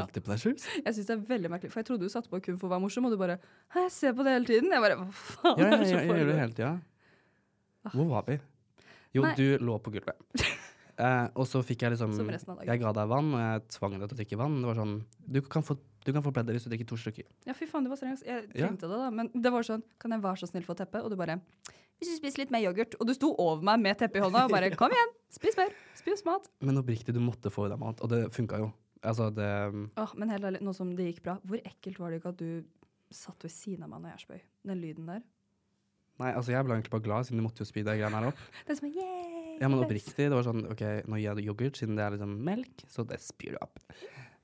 Speaker 1: guilty pleasures?
Speaker 2: Jeg synes det er veldig merkelig, for jeg trodde du satte på kun for å være morsom, og du bare Hæ, jeg ser på det hele tiden. Jeg bare Hva faen?
Speaker 1: Ja, ja,
Speaker 2: er det
Speaker 1: ja,
Speaker 2: som
Speaker 1: jeg gjør det
Speaker 2: foregår?»
Speaker 1: hele tida. Hvor var vi? Jo,
Speaker 2: Nei.
Speaker 1: du lå på gulvet. Eh, og så fikk jeg liksom
Speaker 2: Som resten av dagen.
Speaker 1: Jeg ga deg vann, og jeg tvang deg til å drikke vann. Det var sånn Du kan få, du kan få pledder hvis du drikker to stykker.
Speaker 2: Ja, fy faen, du var streng. ass. Jeg
Speaker 1: Ja.
Speaker 2: tenkte det, da. Men det var sånn Kan jeg være så snill få teppe? Og du bare Hvis du spiser litt mer yoghurt Og du sto over meg med teppet i hånda og bare Kom igjen, spis mer. Spis mat.
Speaker 1: Men oppriktig, du måtte få i deg mat, og det funka jo. Altså, det
Speaker 2: Åh, men helt ærlig, nå som det gikk bra, hvor ekkelt var det ikke at du satt ved siden av meg når jeg spøy? Den lyden der.
Speaker 1: Nei, altså, jeg ble egentlig bare glad, siden du måtte jo spy de greiene her opp.
Speaker 2: Den som er yeah!
Speaker 1: Ja, men oppriktig, det var sånn OK, nå gir jeg deg yoghurt, siden det er liksom melk, så det spyr du opp.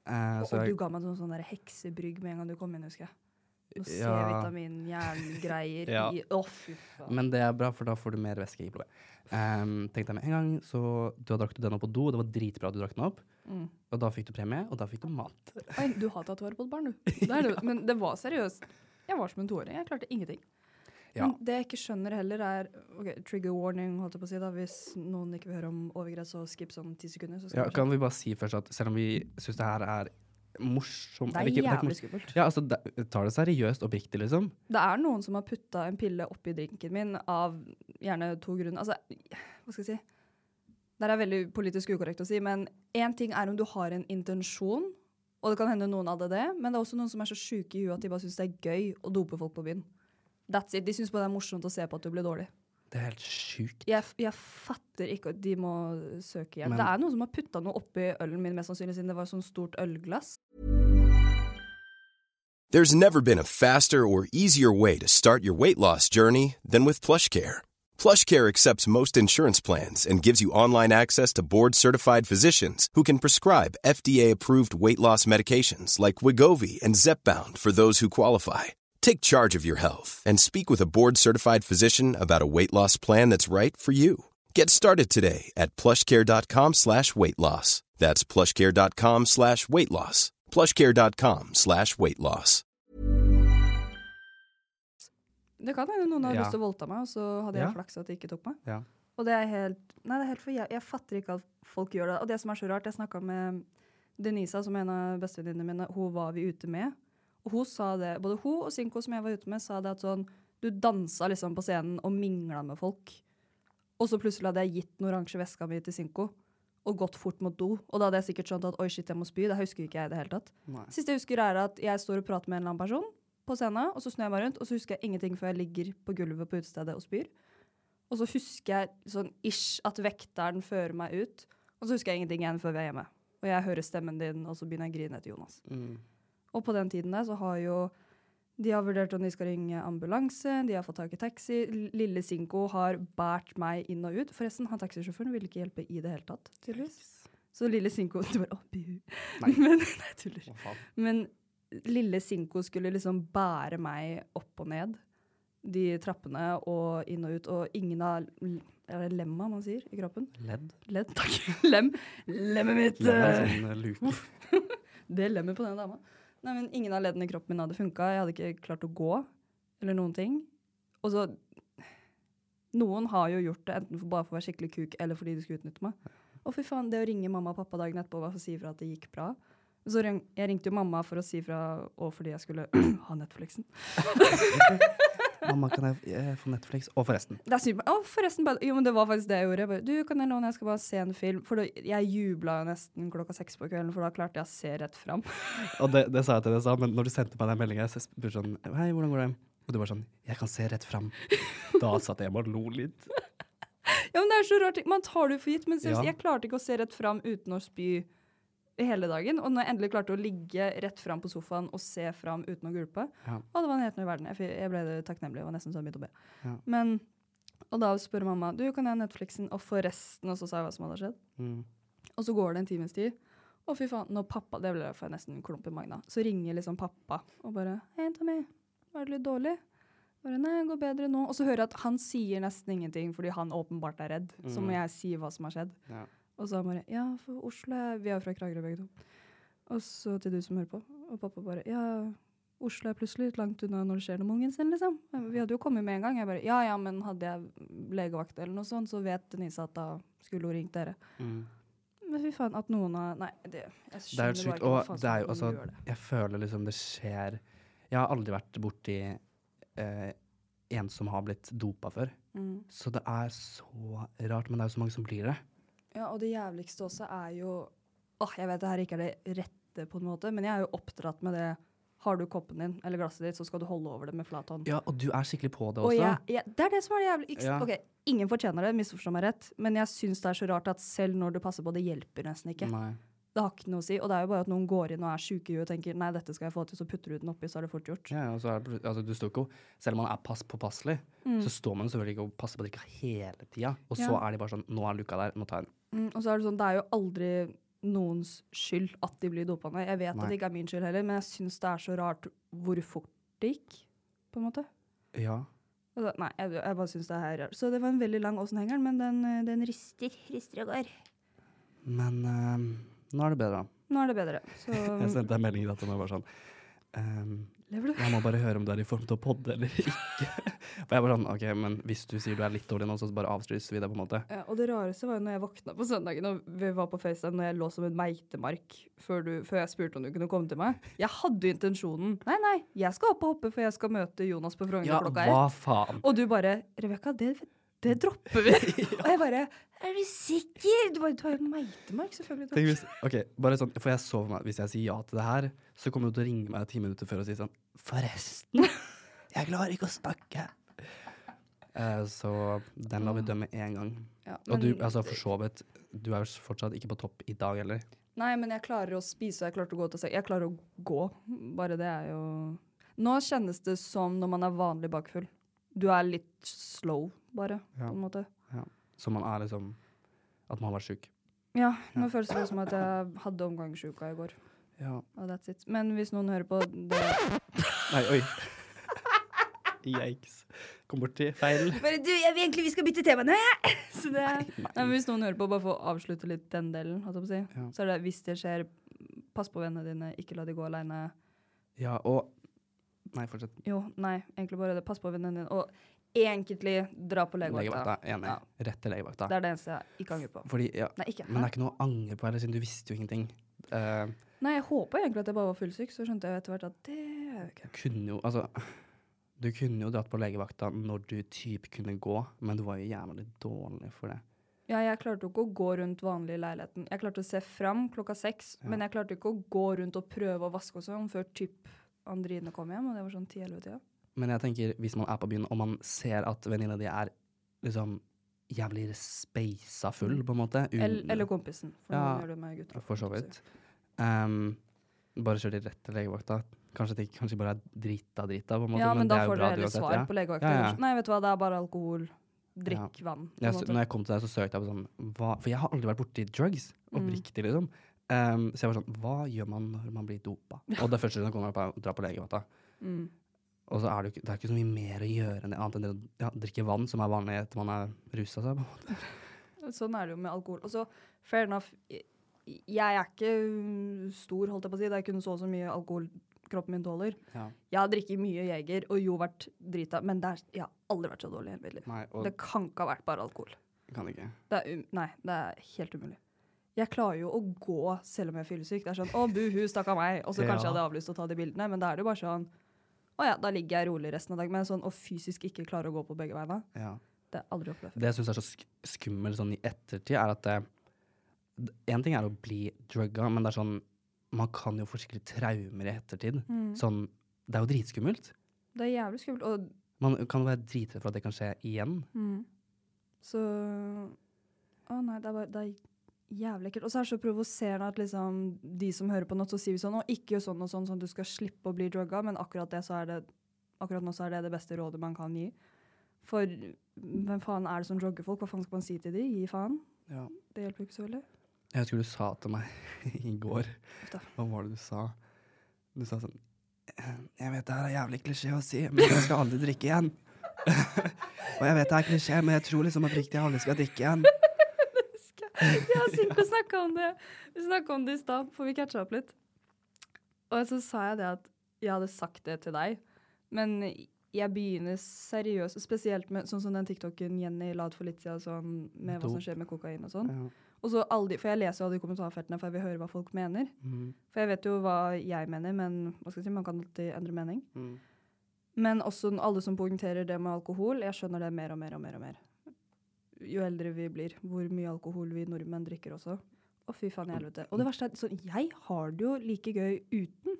Speaker 1: Eh, så
Speaker 2: og
Speaker 1: jeg,
Speaker 2: du ga meg sånn, sånn der heksebrygg med en gang du kom inn, husker jeg. Noe
Speaker 1: Ja.
Speaker 2: C-vitamin-jerngreier
Speaker 1: Ja.
Speaker 2: i Å, fy faen.
Speaker 1: men det er bra, for da får du mer væske i blodet. Um, tenkte jeg med en gang, så da drakk du den opp på do, og det var dritbra at du drakk den opp.
Speaker 2: Mm.
Speaker 1: Og da fikk du premie, og da fikk du mat.
Speaker 2: Oi, du har tatt vare på et barn, du. Det er det. Men det var seriøst. Jeg var som en toåring. Jeg klarte ingenting.
Speaker 1: Ja.
Speaker 2: Men det jeg ikke skjønner heller, er ok, trigger warning, holdt jeg på å si. da, Hvis noen ikke vil høre om overgrep, så skip sånn ti sekunder. Så skal
Speaker 1: Ja,
Speaker 2: vi skjønne.
Speaker 1: kan vi bare si først at selv om vi syns det her er morsomt eller
Speaker 2: Det er
Speaker 1: ikke, det ikke
Speaker 2: jævlig
Speaker 1: morsomt.
Speaker 2: skummelt.
Speaker 1: Ja, altså, det, tar det seriøst oppriktig, liksom?
Speaker 2: Det er noen som har putta en pille oppi drinken min av gjerne to grunner. Altså, hva skal jeg si? Det er veldig politisk ukorrekt å si, men én ting er om du har en intensjon, og det kan hende noen hadde det, men det er også noen som er så sjuke i huet at de bare syns det er gøy å dope folk på byen. That's it. De syns bare det er morsomt å se på at du blir dårlig.
Speaker 1: Det er helt sjukt.
Speaker 2: Jeg, f- jeg fatter ikke at de må søke hjelp.
Speaker 1: Men-
Speaker 2: det er noen som har putta noe oppi ølen min, mest sannsynlig siden det var sånn stort ølglass.
Speaker 3: There's never been a faster or easier way to start your weight loss journey than with PlushCare. PlushCare accepts most insurance plans and gives you online access to board-certified physicians who can prescribe FDA-approved weight loss medications like Wigovi and Zepbound for those who qualify. Take charge of your health and speak with a board-certified physician about a weight loss plan that's right for you. Get started today at plushcare.com slash weight loss. That's plushcare.com slash weight loss. Plushcare.com slash weight loss.
Speaker 2: Det kan hende noen har
Speaker 1: Ja.
Speaker 2: lyst til å voldta meg, og så hadde jeg
Speaker 1: Ja.
Speaker 2: flaks at de ikke tok meg.
Speaker 1: Ja.
Speaker 2: Og det er helt Nei, det er helt for jeg, jeg fatter ikke at folk gjør det. Og det som er så rart, jeg snakka med Denisa, som er en av bestevenninnene mine, hun var vi ute med. Og hun sa det, både hun og Sinko, som jeg var ute med, sa det at sånn Du dansa liksom på scenen og mingla med folk. Og så plutselig hadde jeg gitt den oransje veska mi til Sinko og gått fort mot do. Og da hadde jeg sikkert skjønt at oi, shit, jeg må spy. Det husker ikke jeg i det hele tatt.
Speaker 1: Nei.
Speaker 2: Siste jeg husker, er at jeg står og prater med en eller annen person på scenen, og så snur jeg meg rundt, og så husker jeg ingenting før jeg ligger på gulvet på utestedet og spyr. Og så husker jeg sånn ish at vekteren fører meg ut, og så husker jeg ingenting igjen før vi er hjemme. Og jeg hører stemmen din, og så begynner jeg å grine etter Jonas.
Speaker 1: Mm.
Speaker 2: Og på den tiden der så har jo de har vurdert om de skal ringe ambulanse, de har fått tak i taxi. L- Lille Sinko har båret meg inn og ut. Forresten, han taxisjåføren ville ikke hjelpe i det hele tatt, tydeligvis. Så lille Sinko Du bare Å, buhu.
Speaker 1: Nei.
Speaker 2: Men Nei, tuller.
Speaker 1: Å, faen.
Speaker 2: Men lille Sinko skulle liksom bære meg opp og ned de trappene og inn og ut, og ingen av Er det lemma man sier i kroppen?
Speaker 1: Ledd?
Speaker 2: Ledd, takk. Lem. Lemmet mitt!
Speaker 1: Ledd er
Speaker 2: eh,
Speaker 1: en sånn eh, luke.
Speaker 2: det lemmet på den dama. Nei, men ingen av leddene i kroppen min hadde funka. Jeg hadde ikke klart å gå eller noen ting. Og så Noen har jo gjort det enten for bare for å være skikkelig kuk eller fordi de skulle utnytte meg. Å, fy faen, det å ringe mamma og pappa dagen etterpå bare for å si ifra at det gikk bra. Så ring, jeg ringte jo mamma for å si ifra, og fordi jeg skulle ha Netflixen.
Speaker 1: Mamma, kan jeg eh, få Netflix? Og forresten.
Speaker 2: Det er sykt. men- Å, forresten, bare, jo, men det var faktisk det jeg gjorde. Jeg bare, du, kan jeg låne, jeg skal bare se en film. For da, jeg jubla jo nesten klokka seks på kvelden, for da klarte jeg å se rett fram.
Speaker 1: Og det, det sa jeg til deg, sa, men når du sendte meg den meldinga, så spurte jeg sånn Hei, hvordan går det? Og du var sånn Jeg kan se rett fram. Da satt jeg bare og lo litt.
Speaker 2: Ja, men det er så rart. Man tar det jo for gitt. Men seriøst,
Speaker 1: Ja.
Speaker 2: jeg klarte ikke å se rett fram uten å spy hele dagen. Og når jeg endelig klarte å ligge rett fram på sofaen og se fram uten å gulpe,
Speaker 1: Ja.
Speaker 2: og det var en helt ny verden. Jeg, fi- jeg ble takknemlig. Det var nesten så jeg begynte å be.
Speaker 1: Ja.
Speaker 2: Men, og da spør mamma du kan jeg ha Netflixen, og forresten, og så sa jeg hva som hadde skjedd.
Speaker 1: Mm.
Speaker 2: Og så går det en times tid. Å, fy faen. Når pappa Det ble derfor jeg nesten en klump i magen. da. Så ringer liksom pappa og bare 'Hei, Tommy. Var det litt dårlig?' Bare 'Nei, det går bedre nå'. Og så hører jeg at han sier nesten ingenting fordi han åpenbart er redd. Så må jeg si hva som har skjedd.
Speaker 1: Ja.
Speaker 2: Og så han bare 'Ja, for Oslo er Vi er jo fra Kragerø begge to. Og så til du som hører på. Og pappa bare 'Ja, Oslo er plutselig litt langt unna når det skjer noe med ungen sin', liksom. Vi hadde jo kommet med en gang. Jeg bare 'Ja ja, men hadde jeg legevakt eller noe sånt, så vet Denise at da skulle hun ringt dere'.
Speaker 1: Mm.
Speaker 2: Men fy faen, at noen har Nei, det, jeg
Speaker 1: Det er helt
Speaker 2: skjønner bare
Speaker 1: sykt.
Speaker 2: ikke hva
Speaker 1: Og
Speaker 2: faen
Speaker 1: det
Speaker 2: som
Speaker 1: er jo altså
Speaker 2: gjør det.
Speaker 1: Jeg føler liksom det skjer Jeg har aldri vært borti eh, en som har blitt dopa før.
Speaker 2: Mm.
Speaker 1: Så det er så rart, men det er jo så mange som blir det.
Speaker 2: Ja, og det jævligste også er jo Åh, jeg vet det her ikke er det rette, på en måte, men jeg er jo oppdratt med det Har du koppen din eller glasset ditt, så skal du holde over det med flat hånd.
Speaker 1: Ja, og du er skikkelig på det
Speaker 2: Og
Speaker 1: også.
Speaker 2: jeg, jeg, det er det som er det jævligste.
Speaker 1: Ja.
Speaker 2: Ok, Ingen fortjener det, misforstå meg rett, men jeg syns det er så rart at selv når du passer på, det hjelper nesten ikke.
Speaker 1: Nei.
Speaker 2: Det har ikke noe å si. Og det er jo bare at noen går inn og er sjuke i huet og tenker nei, dette skal jeg få til, så putter du den oppi, så er det fort gjort.
Speaker 1: Ja, ja, og så er det, plut- altså, du står ikke, og- selv om man er pass påpasselig, så står man selvfølgelig ikke og passer på drikka hele tida. Og så
Speaker 2: Mm. Ja.
Speaker 1: er de bare sånn Nå er luka der, nå tar jeg den.
Speaker 2: Mm, og så er det sånn, det er jo aldri noens skyld at de blir dopa ned. Jeg vet
Speaker 1: Nei.
Speaker 2: at det ikke er min skyld heller, men jeg syns det er så rart hvor fort det gikk, på en måte.
Speaker 1: Ja.
Speaker 2: Altså, nei, jeg, jeg bare syns det her er rart. Så det var en veldig lang Åsen Hengeren, men den, eh, den rister, rister og går.
Speaker 1: Men eh, nå er det bedre.
Speaker 2: Nå er det bedre. Så um,
Speaker 1: Jeg sendte deg en melding i dag og var sånn ehm,
Speaker 2: lever du.
Speaker 1: Jeg må bare høre om du er i form til å podde eller ikke. For jeg var sånn OK, men hvis du sier du er litt dårlig nå, så bare avstryser vi det, på en måte.
Speaker 2: Ja, og det rareste var jo når jeg våkna på søndagen og vi var på FaceTime når jeg lå som en meitemark før, du, før jeg spurte om du kunne komme til meg. Jeg hadde jo intensjonen. Nei, nei, jeg skal opp og hoppe, for jeg skal møte Jonas på Frogner
Speaker 1: Ja,
Speaker 2: klokka ett.
Speaker 1: hva faen?
Speaker 2: Og du bare 'Rebekka, det, det
Speaker 1: Mm.
Speaker 2: dropper vi'. Og jeg bare 'Er du sikker?' Du bare 'Du har jo en meitemark, selvfølgelig'.
Speaker 1: Tenk hvis, ok, bare sånn, for jeg så for meg, Hvis jeg sier ja til det her, så kommer du til å ringe meg ti minutter før og si sånn Forresten, jeg klarer ikke å snakke. Eh, så den lar vi dø med én gang.
Speaker 2: Ja,
Speaker 1: Og du,
Speaker 2: men-
Speaker 1: altså for så vidt, du er jo fortsatt ikke på topp i dag heller.
Speaker 2: Nei, men jeg klarer å spise, og jeg klarer å gå til seng. Jeg klarer å gå. Bare det er jo Nå kjennes det som når man er vanlig bakfull. Du er litt slow, bare,
Speaker 1: Ja.
Speaker 2: på en måte.
Speaker 1: Så man er liksom At man har vært sjuk.
Speaker 2: Ja, nå føles det som at jeg hadde omgangsuka i går.
Speaker 1: Ja.
Speaker 2: Og that's it. Men hvis noen hører på det
Speaker 1: Nei, oi. Yikes. Kom borti feil.
Speaker 2: Bare du, jeg vil egentlig vi skal bytte tema nå, jeg! Så det, nei, men hvis noen hører på, bare for å avslutte litt den delen, holdt jeg på å si.
Speaker 1: Ja.
Speaker 2: Så er det hvis det skjer, pass på vennene dine, ikke la de gå aleine.
Speaker 1: Ja, og Nei, fortsett.
Speaker 2: Jo, nei, egentlig bare det. Pass på vennene dine. Og egentlig dra på legevakta.
Speaker 1: Legevakta. Enig.
Speaker 2: Ja.
Speaker 1: Rett til legevakta.
Speaker 2: Det er det eneste jeg ikke angrer på.
Speaker 1: Fordi, ja.
Speaker 2: Nei, ikke.
Speaker 1: Men det
Speaker 2: Hæ?
Speaker 1: er ikke noe å angre på heller, siden du visste jo ingenting. Eh,
Speaker 2: Nei, jeg håpa egentlig at jeg bare var fullsyk, så skjønte jeg etter hvert at det er jeg ikke.
Speaker 1: du kunne jo Altså, du kunne jo dratt på legevakta når du typ kunne gå, men du var jo jævlig dårlig for det.
Speaker 2: Ja, jeg klarte jo ikke å gå rundt vanlig i leiligheten. Jeg klarte å se fram klokka seks, men jeg klarte ikke å gå rundt og prøve å vaske og sånn før typ Andrine kom hjem, og det var sånn 10-11-tida.
Speaker 1: Men jeg tenker, hvis man er på byen, og man ser at venninna di er liksom jævlig speisa full, på en måte un-
Speaker 2: Eller, eller kompisen. For
Speaker 1: Ja,
Speaker 2: noen gjør det med gutter.
Speaker 1: For så
Speaker 2: holdt jeg på å si.
Speaker 1: vidt. Ehm, bare kjør de rett til legevakta. Kanskje de kanskje de bare er drita, drita, på en måte.
Speaker 2: Ja, men,
Speaker 1: det
Speaker 2: da
Speaker 1: er jo
Speaker 2: får du
Speaker 1: bra
Speaker 2: heller
Speaker 1: uansett,
Speaker 2: svar
Speaker 1: ja.
Speaker 2: på legevakta.
Speaker 1: Ja, ja.
Speaker 2: Nei, vet du hva, det er bare alkohol. Drikk vann. på en
Speaker 1: Jeg, s-
Speaker 2: måte.
Speaker 1: når jeg kom til deg, så søkte jeg på sånn hva, For jeg har aldri vært borti drugs.
Speaker 2: Mm.
Speaker 1: Oppriktig, liksom. Ehm, så jeg var sånn Hva gjør man når man blir dopa? Og det første som kommer, er å dra på legevakta.
Speaker 2: Mm.
Speaker 1: Og så er det, jo ikke, det er ikke så mye mer å gjøre enn det, annet enn det å ja, drikke vann, som er vanlig etter man er rusa seg. på en måte.
Speaker 2: Sånn er det jo med alkohol. Og så, fair enough, jeg jeg er ikke mm, stor, holdt jeg på å si. Det er kun så og så mye alkohol kroppen min tåler. Jeg har drikket mye Jeger og jo vært drita, men det er, jeg har aldri vært så dårlig i hele mitt liv.
Speaker 1: Nei, og
Speaker 2: Det kan ikke ha vært bare alkohol.
Speaker 1: kan ikke.
Speaker 2: Det er, um, nei, det er helt umulig. Jeg klarer jo å gå selv om jeg er fyllesyk. Det er sånn 'Å, buhu, stakkar meg.' Og så kanskje jeg
Speaker 1: Ja.
Speaker 2: hadde avlyst å ta de bildene, men da er det jo bare sånn 'Å ja, da ligger jeg rolig resten av dagen.' Men sånn å fysisk ikke klare å gå på begge beina,
Speaker 1: Ja.
Speaker 2: det har jeg aldri opplevd før.
Speaker 1: Det jeg syns er så sk skummelt sånn i ettertid, er at Én ting er å bli drugga, men det er sånn Man kan jo få skikkelig traumer i ettertid.
Speaker 2: Mm.
Speaker 1: Sånn Det er jo dritskummelt.
Speaker 2: Det er jævlig skummelt. Og
Speaker 1: Man kan jo være dritredd for at det kan skje igjen.
Speaker 2: Mm. så Å nei, det er bare det er jævlig ekkelt. Og så er det så provoserende at liksom de som hører på nå, så sier vi sånn 'Å, ikke gjør sånn og sånn, sånn at du skal slippe å bli drugga', men akkurat det så er det Akkurat nå så er det det beste rådet man kan gi. For hvem faen er det som drugger folk? Hva faen skal man si til de? Gi faen?
Speaker 1: Ja.
Speaker 2: Det hjelper jo ikke så veldig.
Speaker 1: Jeg husker du sa til meg i går
Speaker 2: da.
Speaker 1: Hva var det du sa? Du sa sånn Jeg vet det her er jævlig klisjé å si, men jeg skal aldri drikke igjen. Og jeg vet det er klisjé, men jeg tror liksom oppriktig jeg aldri skal drikke igjen.
Speaker 2: Ja, Sinko snakka om det Vi snakket om det i stad, for vi catcha opp litt. Og så sa jeg det at jeg hadde sagt det til deg, men jeg begynner seriøst, spesielt med sånn som den TikToken Jenny la ut for litt siden, sånn, med hva som
Speaker 1: Dop.
Speaker 2: skjer med kokain og sånn.
Speaker 1: Ja.
Speaker 2: Og så alle de, For jeg leser jo alle de kommentarfeltene, for jeg vil høre hva folk mener.
Speaker 1: Mm.
Speaker 2: For jeg vet jo hva jeg mener, men hva skal jeg si, man kan alltid endre mening.
Speaker 1: Mm.
Speaker 2: Men også n- alle som poengterer det med alkohol, jeg skjønner det mer og mer og mer. og mer. Jo eldre vi blir, hvor mye alkohol vi nordmenn drikker også. Å, fy faen i helvete. Og det verste er, sånn, jeg har det jo like gøy uten.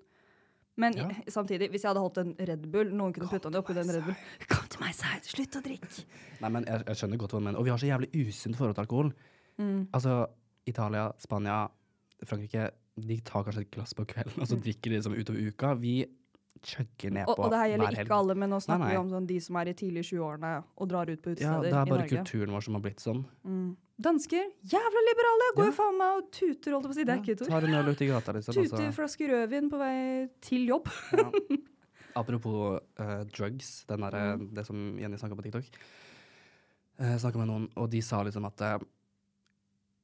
Speaker 2: Men
Speaker 1: Ja.
Speaker 2: i- samtidig, hvis jeg hadde holdt en Red Bull, noen kunne putta det oppi den Red Bull. Kom til meg, Seid! Slutt å drikke!
Speaker 1: Nei, men jeg, jeg skjønner godt hva du mener. Og vi har så jævlig usunt forhold til alkohol.
Speaker 2: Mm.
Speaker 1: Altså, Italia, Spania, Frankrike De tar kanskje et glass på kvelden, og så drikker de liksom utover uka. Vi chugger ned
Speaker 2: Mm. Og,
Speaker 1: på
Speaker 2: og det her
Speaker 1: hver
Speaker 2: gjelder
Speaker 1: helg.
Speaker 2: ikke alle, men nå snakker
Speaker 1: nei.
Speaker 2: vi om sånn, de som er i tidlige 20-årene og drar ut
Speaker 1: Ja,
Speaker 2: på utesteder
Speaker 1: det er
Speaker 2: i
Speaker 1: bare
Speaker 2: Norge.
Speaker 1: kulturen vår som har blitt sånn.
Speaker 2: Dansker, jævla liberale, går jo faen meg og tuter, holdt jeg på å si. Det er
Speaker 1: Ja,
Speaker 2: ikke et ord.
Speaker 1: Tar en øl ute i gata, liksom. og så-
Speaker 2: Tuter flaske rødvin på vei til jobb.
Speaker 1: Apropos eh, drugs, den der, eh,
Speaker 2: Mm.
Speaker 1: det som Jenny snakka på TikTok. Uh, snakka med noen, og de sa liksom at eh,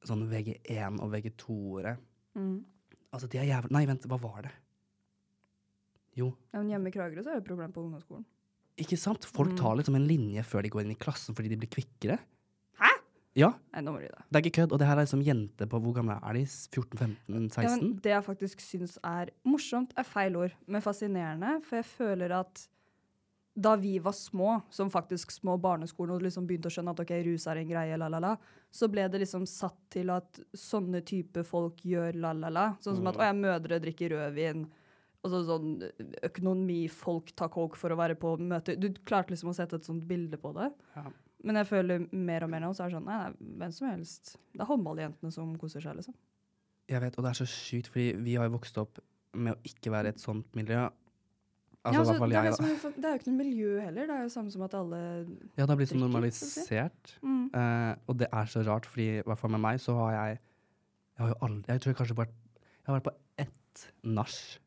Speaker 1: sånn VG1 og VG2-ere
Speaker 2: Mm.
Speaker 1: Altså, de er jævla Nei, vent, hva var det? Jo,
Speaker 2: Ja, men hjemme i Kragerø så er det et problem på ungdomsskolen.
Speaker 1: ikke sant? Folk
Speaker 2: Mm.
Speaker 1: tar liksom en linje før de går inn i klassen fordi de blir kvikkere.
Speaker 2: Hæ?
Speaker 1: Ja,
Speaker 2: Nei, nå må du gi deg.
Speaker 1: det er ikke kødd. Og det her er liksom jenter på Hvor gamle er de? 14-15-16?
Speaker 2: Ja, men det jeg faktisk syns er morsomt, er feil ord, men fascinerende. For jeg føler at da vi var små, som faktisk små barneskolen, og liksom begynte å skjønne at ok, rus er en greie, la-la-la, så ble det liksom satt til at sånne type folk gjør la-la-la. Sånn som at å ja, mødre drikker rødvin. Og så sånn økonomifolk tar coke for å være på møter. Du klarte liksom å sette et sånt bilde på det.
Speaker 1: Ja.
Speaker 2: Men jeg føler mer og mer nå så er det sånn nei, nei, hvem som helst. Det er håndballjentene som koser seg, liksom.
Speaker 1: Jeg vet, og det er så sjukt, fordi vi har jo vokst opp med å ikke være i et sånt miljø. Altså,
Speaker 2: ja,
Speaker 1: i
Speaker 2: altså,
Speaker 1: hvert fall
Speaker 2: det, er
Speaker 1: jeg,
Speaker 2: det, som
Speaker 1: da.
Speaker 2: er for- det er jo ikke noe miljø heller. Det er jo samme som at alle
Speaker 1: Ja, det har blitt så
Speaker 2: drikker, så å si.
Speaker 1: normalisert.
Speaker 2: mm.
Speaker 1: Eh, og det er så rart, fordi i hvert fall med meg, så har jeg Jeg har jo aldri Jeg tror jeg kanskje vært Jeg har vært på ett nach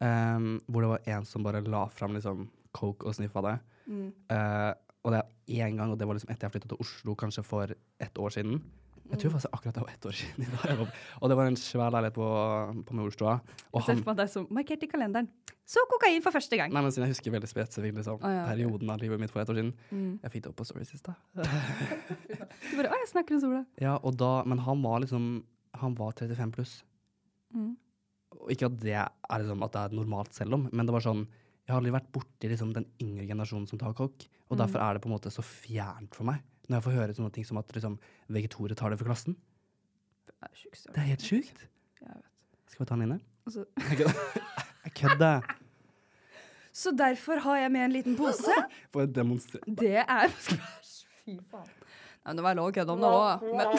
Speaker 1: eh, hvor det var en som bare la fram liksom coke og sniffa det.
Speaker 2: Mm.
Speaker 1: Eh, og det er én gang, og det var liksom etter jeg flytta til Oslo, kanskje for ett år siden. Jeg
Speaker 2: Mm.
Speaker 1: tror faktisk akkurat det var ett år siden. Da jeg var, og det var en svær leilighet på, på Majorstua. Og
Speaker 2: Jeg ser
Speaker 1: han
Speaker 2: for meg deg som markert i kalenderen. Så kokain for første gang!
Speaker 1: Nei, men siden jeg husker veldig spesifikt liksom,
Speaker 2: Å, ja, ok.
Speaker 1: perioden av livet mitt for ett år siden.
Speaker 2: Mm.
Speaker 1: Jeg fikk det opp på Story sist, da.
Speaker 2: Du bare 'Å, jeg snakker om sola'.
Speaker 1: Ja, og da, men han var liksom Han var 35 pluss.
Speaker 2: Mm.
Speaker 1: Og ikke at det er liksom at det er normalt selv om, men det var sånn Jeg har aldri vært borti liksom den yngre generasjonen som tar kokk,
Speaker 2: Mm.
Speaker 1: og derfor er det på en måte så fjernt for meg. Når jeg får høre sånne ting som at liksom, vegetorer tar det for klassen.
Speaker 2: Det er sjukt
Speaker 1: Det er helt sjukt.
Speaker 2: Jeg vet.
Speaker 1: Skal vi ta den inne?
Speaker 2: Altså-
Speaker 1: Jeg kødder. Jeg kødder.
Speaker 2: Så derfor har jeg med en liten pose.
Speaker 1: For å demonstrere
Speaker 2: Det er Fy faen. Nei, men det var lov å kødde om det òg, men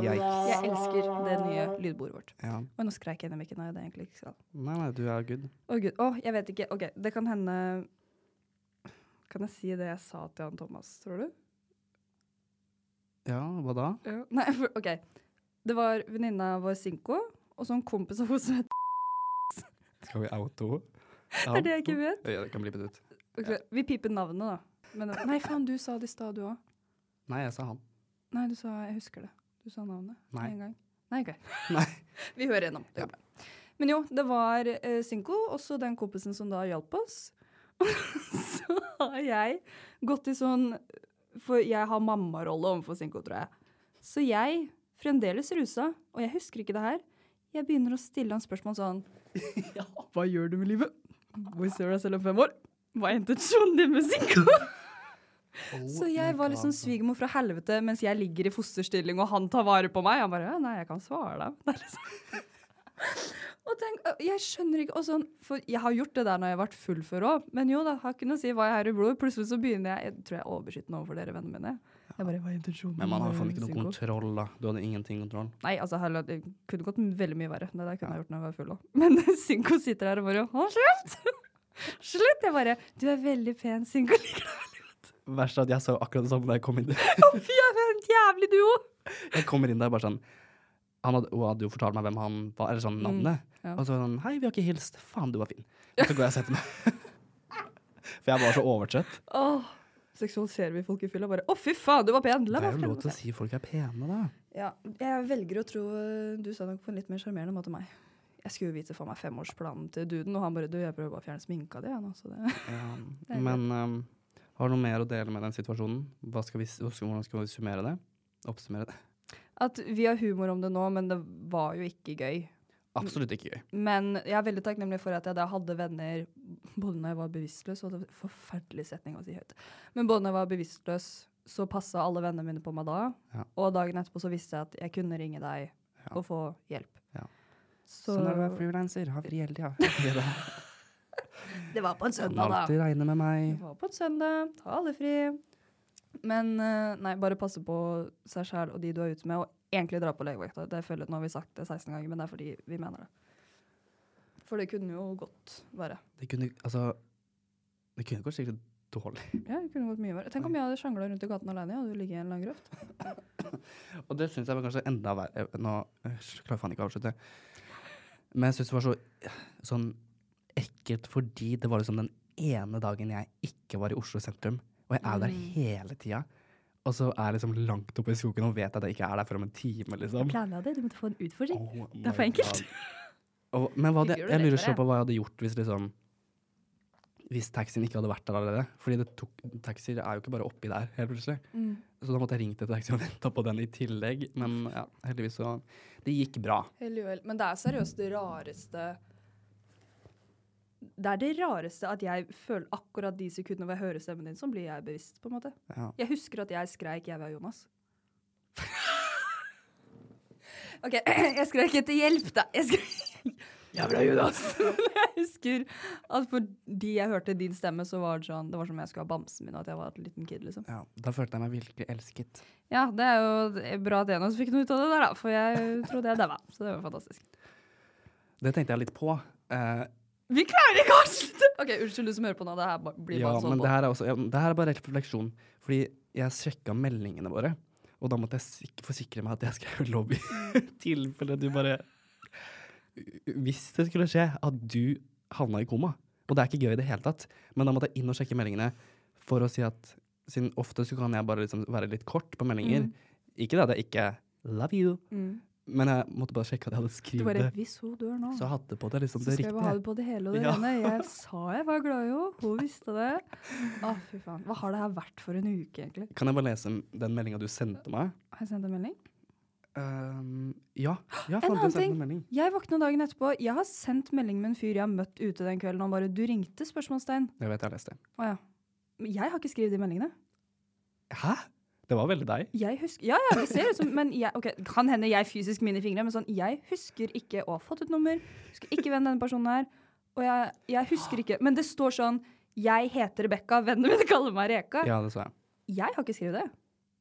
Speaker 1: Yikes.
Speaker 2: jeg elsker det nye lydbordet vårt.
Speaker 1: Ja.
Speaker 2: Og nå skreik jeg gjennom mikken, og det egentlig ikke skal.
Speaker 1: Nei, nei, du er good.
Speaker 2: Å, gud. Å, jeg vet ikke. OK, det kan hende Kan jeg si det jeg sa til han Thomas, tror du?
Speaker 1: Ja, hva da?
Speaker 2: Nei, for, OK. Det var venninna vår Sinko, og så en kompis av henne som het
Speaker 1: Skal vi oute henne?
Speaker 2: Det er det jeg ikke vet.
Speaker 1: Ja, det kan bli bedt ut.
Speaker 2: Ok, Vi piper navnet, da. Men, eh, nei, faen, du sa det i stad, du òg.
Speaker 1: Nei, jeg sa han.
Speaker 2: Nei, du sa Jeg husker det. Du sa navnet
Speaker 1: Nei.
Speaker 2: en gang. Nei, OK.
Speaker 1: Nei.
Speaker 2: Vi hører gjennom. Det går bra. Men jo, det var uh, Synko, også den kompisen som da hjalp oss. Og så har jeg gått i sånn For jeg har mammarolle overfor Synko, tror jeg. Så jeg, fremdeles rusa, og jeg husker ikke det her, jeg begynner å stille han spørsmål sånn
Speaker 1: Hva gjør du med livet?
Speaker 2: Hvor ser du deg selv om fem år? Hva er intensjonen din med Synko? Så jeg var liksom svigermor fra helvete mens jeg ligger i fosterstilling og han tar vare på meg. Han bare «Ja, 'Nei, jeg kan svare deg'. Det er liksom. Og tenk, øh, jeg skjønner ikke og sånn, For jeg har gjort det der når jeg har vært full før òg. Men jo da, har ikke noe å si hva jeg har i blodet. Plutselig så begynner jeg Jeg tror jeg er overbeskyttende overfor dere vennene mine. Jeg bare, hva er intensjonen?
Speaker 1: Men man har jo faen ikke
Speaker 2: med
Speaker 1: noe
Speaker 2: Synko?»
Speaker 1: kontroll, da. Du hadde ingenting kontroll.
Speaker 2: Nei, altså, herlig, det kunne gått veldig mye verre. Det der kunne jeg gjort når jeg var full òg. Men Synko sitter der og bare Hold kjeft! Slutt! Jeg bare Du er veldig pen, Synko. liker deg veldig godt.
Speaker 1: Verst er at jeg sa jo akkurat det samme da jeg kom inn.
Speaker 2: Å, Fy, jeg er en jævlig duo!
Speaker 1: Jeg kommer inn der bare sånn han hadde, Hun hadde jo fortalt meg hvem han var, eller sånn navnet.
Speaker 2: Mm, ja.
Speaker 1: Og så var han sånn Hei, vi har ikke hilst. Faen, du var fin. Og så går jeg og setter meg. For jeg var så overtrøtt.
Speaker 2: Åh, seksualiserer vi folk i fylla? Bare 'Å, fy faen, du var pen!'
Speaker 1: Det
Speaker 2: La
Speaker 1: er altså.
Speaker 2: meg
Speaker 1: jo lov til å
Speaker 2: fortelle meg
Speaker 1: si folk er pene, da.
Speaker 2: selv.» Ja, jeg velger å tro øh, du sa det nok på en litt mer sjarmerende måte enn meg. Jeg skulle jo vite for meg femårsplanen til duden, og han bare 'Du, jeg prøver bare å fjerne sminka di', jeg nå, så det Det er
Speaker 1: Men ehm, har du noe mer å dele med den situasjonen? Hva skal vi, s- hvordan skal vi summere det? Oppsummere det?
Speaker 2: At vi har humor om det nå, men det var jo ikke gøy.
Speaker 1: Absolutt ikke gøy.
Speaker 2: Men jeg er veldig takknemlig for at jeg da hadde venner både når jeg var bevisstløs Og det var en forferdelig setning å si høyt. Men både når jeg var bevisstløs, så passa alle vennene mine på meg da.
Speaker 1: Ja.
Speaker 2: Og dagen etterpå så visste jeg at jeg kunne ringe deg og få hjelp.
Speaker 1: Ja.
Speaker 2: Så
Speaker 1: Sånn er det å være frilanser. Ha fri hele tida.
Speaker 2: det var på en
Speaker 1: Kan
Speaker 2: søndag, da.
Speaker 1: alltid regne med meg.
Speaker 2: Det var på en søndag. Ta alle fri. Men eh, nei, bare passe på seg sjæl og de du er ute med, og egentlig dra på legevakta. Det føler jeg, Nå har vi sagt det 16 ganger, men det er fordi vi mener det. For det kunne jo godt være.
Speaker 1: Det kunne, altså, det kunne gått skikkelig dårlig.
Speaker 2: Ja, det kunne gått mye verre. Tenk om jeg hadde sjangla rundt i gaten alene. Jeg hadde jo ligget i en eller annen grøft.
Speaker 1: Og det syns jeg var kanskje enda verre Nå øh, klarer jeg faen ikke å avslutte. Men jeg syns det var så sånn ekkelt fordi det var liksom den ene dagen jeg ikke var i Oslo sentrum. Og jeg er jo der
Speaker 2: Mm.
Speaker 1: hele tida. Og så er jeg liksom langt oppe i skogen og vet at jeg ikke er der før om en time, liksom.
Speaker 2: Planla det, du måtte få en utfordring.
Speaker 1: Oh my
Speaker 2: Det er for enkelt.
Speaker 1: God. Og, men hva hadde,
Speaker 2: Fy, gjør du
Speaker 1: jeg
Speaker 2: det
Speaker 1: lurer
Speaker 2: for
Speaker 1: selv på hva jeg hadde gjort hvis liksom hvis taxien ikke hadde vært der allerede. Fordi det tok, taxier er jo ikke bare oppi der helt plutselig.
Speaker 2: Mm.
Speaker 1: Så da måtte jeg ringt etter taxi og venta på den i tillegg. Men ja, heldigvis så Det gikk bra.
Speaker 2: Hellig uhell. Men det er seriøst det rareste Det er det rareste at jeg føler akkurat de sekundene hvor jeg hører stemmen din, så blir jeg bevisst, på en måte.
Speaker 1: Ja.
Speaker 2: Jeg husker at jeg skreik 'jeg vil ha Jonas'. OK, jeg skreik etter hjelp, da. Jeg skreik Jævla Judas! jeg husker at fordi jeg hørte din stemme, så var det sånn Det var som om jeg skulle ha bamsen min da jeg var et liten kid, liksom.
Speaker 1: Ja, da følte jeg meg virkelig elsket.
Speaker 2: Ja, det er jo det er bra at en av oss fikk noe ut av det der, da, for jeg trodde jeg daua. Så det var fantastisk.
Speaker 1: Det tenkte jeg litt på. Eh,
Speaker 2: Vi klarer ikke å avslutte! OK, unnskyld du som hører på nå. Det her ba- blir
Speaker 1: ja,
Speaker 2: bare sånn.
Speaker 1: men det
Speaker 2: nå.
Speaker 1: her, er også, ja, men det her er bare refleksjon. Fordi jeg sjekka meldingene våre, og da måtte jeg sik forsikre meg at jeg skrev lobby. I tilfelle du bare Hvis det skulle skje at du havna i koma, og det er ikke gøy i det hele tatt, men da måtte jeg inn og sjekke meldingene for å si at siden ofte så kan jeg bare liksom være litt kort på meldinger. Ikke det at jeg ikke love you,
Speaker 2: Mm.
Speaker 1: men jeg måtte bare sjekke at jeg hadde
Speaker 2: Du
Speaker 1: skrevet
Speaker 2: bare
Speaker 1: det.
Speaker 2: Hvis hun dør nå,
Speaker 1: Så jeg hadde på det liksom
Speaker 2: så
Speaker 1: det
Speaker 2: skal jeg bare ha
Speaker 1: riktige.
Speaker 2: det på det hele og det
Speaker 1: Ja.
Speaker 2: rene. Jeg sa jeg var glad i henne. Hun visste det. Å, fy faen. Hva har det her vært for en uke, egentlig?
Speaker 1: Kan jeg bare lese den meldinga du sendte meg?
Speaker 2: Har jeg sendt en melding?
Speaker 1: Ehm, ja. ja
Speaker 2: En
Speaker 1: faen,
Speaker 2: annen
Speaker 1: du sendte
Speaker 2: ting.
Speaker 1: en melding.
Speaker 2: Jeg våkna dagen etterpå. Jeg har sendt melding med en fyr jeg har møtt ute den kvelden. Han bare 'Du ringte?' spørsmålstegn.
Speaker 1: Jeg vet jeg har lest det.
Speaker 2: Å ja. Men jeg har ikke skrevet de meldingene.
Speaker 1: Hæ? Det var veldig deg.
Speaker 2: Jeg husker Ja, ja, det ser ut som Men jeg, ok, kan hende jeg fysisk mine fingre, men sånn Jeg husker ikke å ha fått et nummer. Husker ikke hvem denne personen er. Og jeg, jeg husker ikke Men det står sånn 'Jeg heter Rebekka. Vennene mine kaller meg Reka'.
Speaker 1: Ja, det sa jeg.
Speaker 2: Jeg har ikke skrevet det.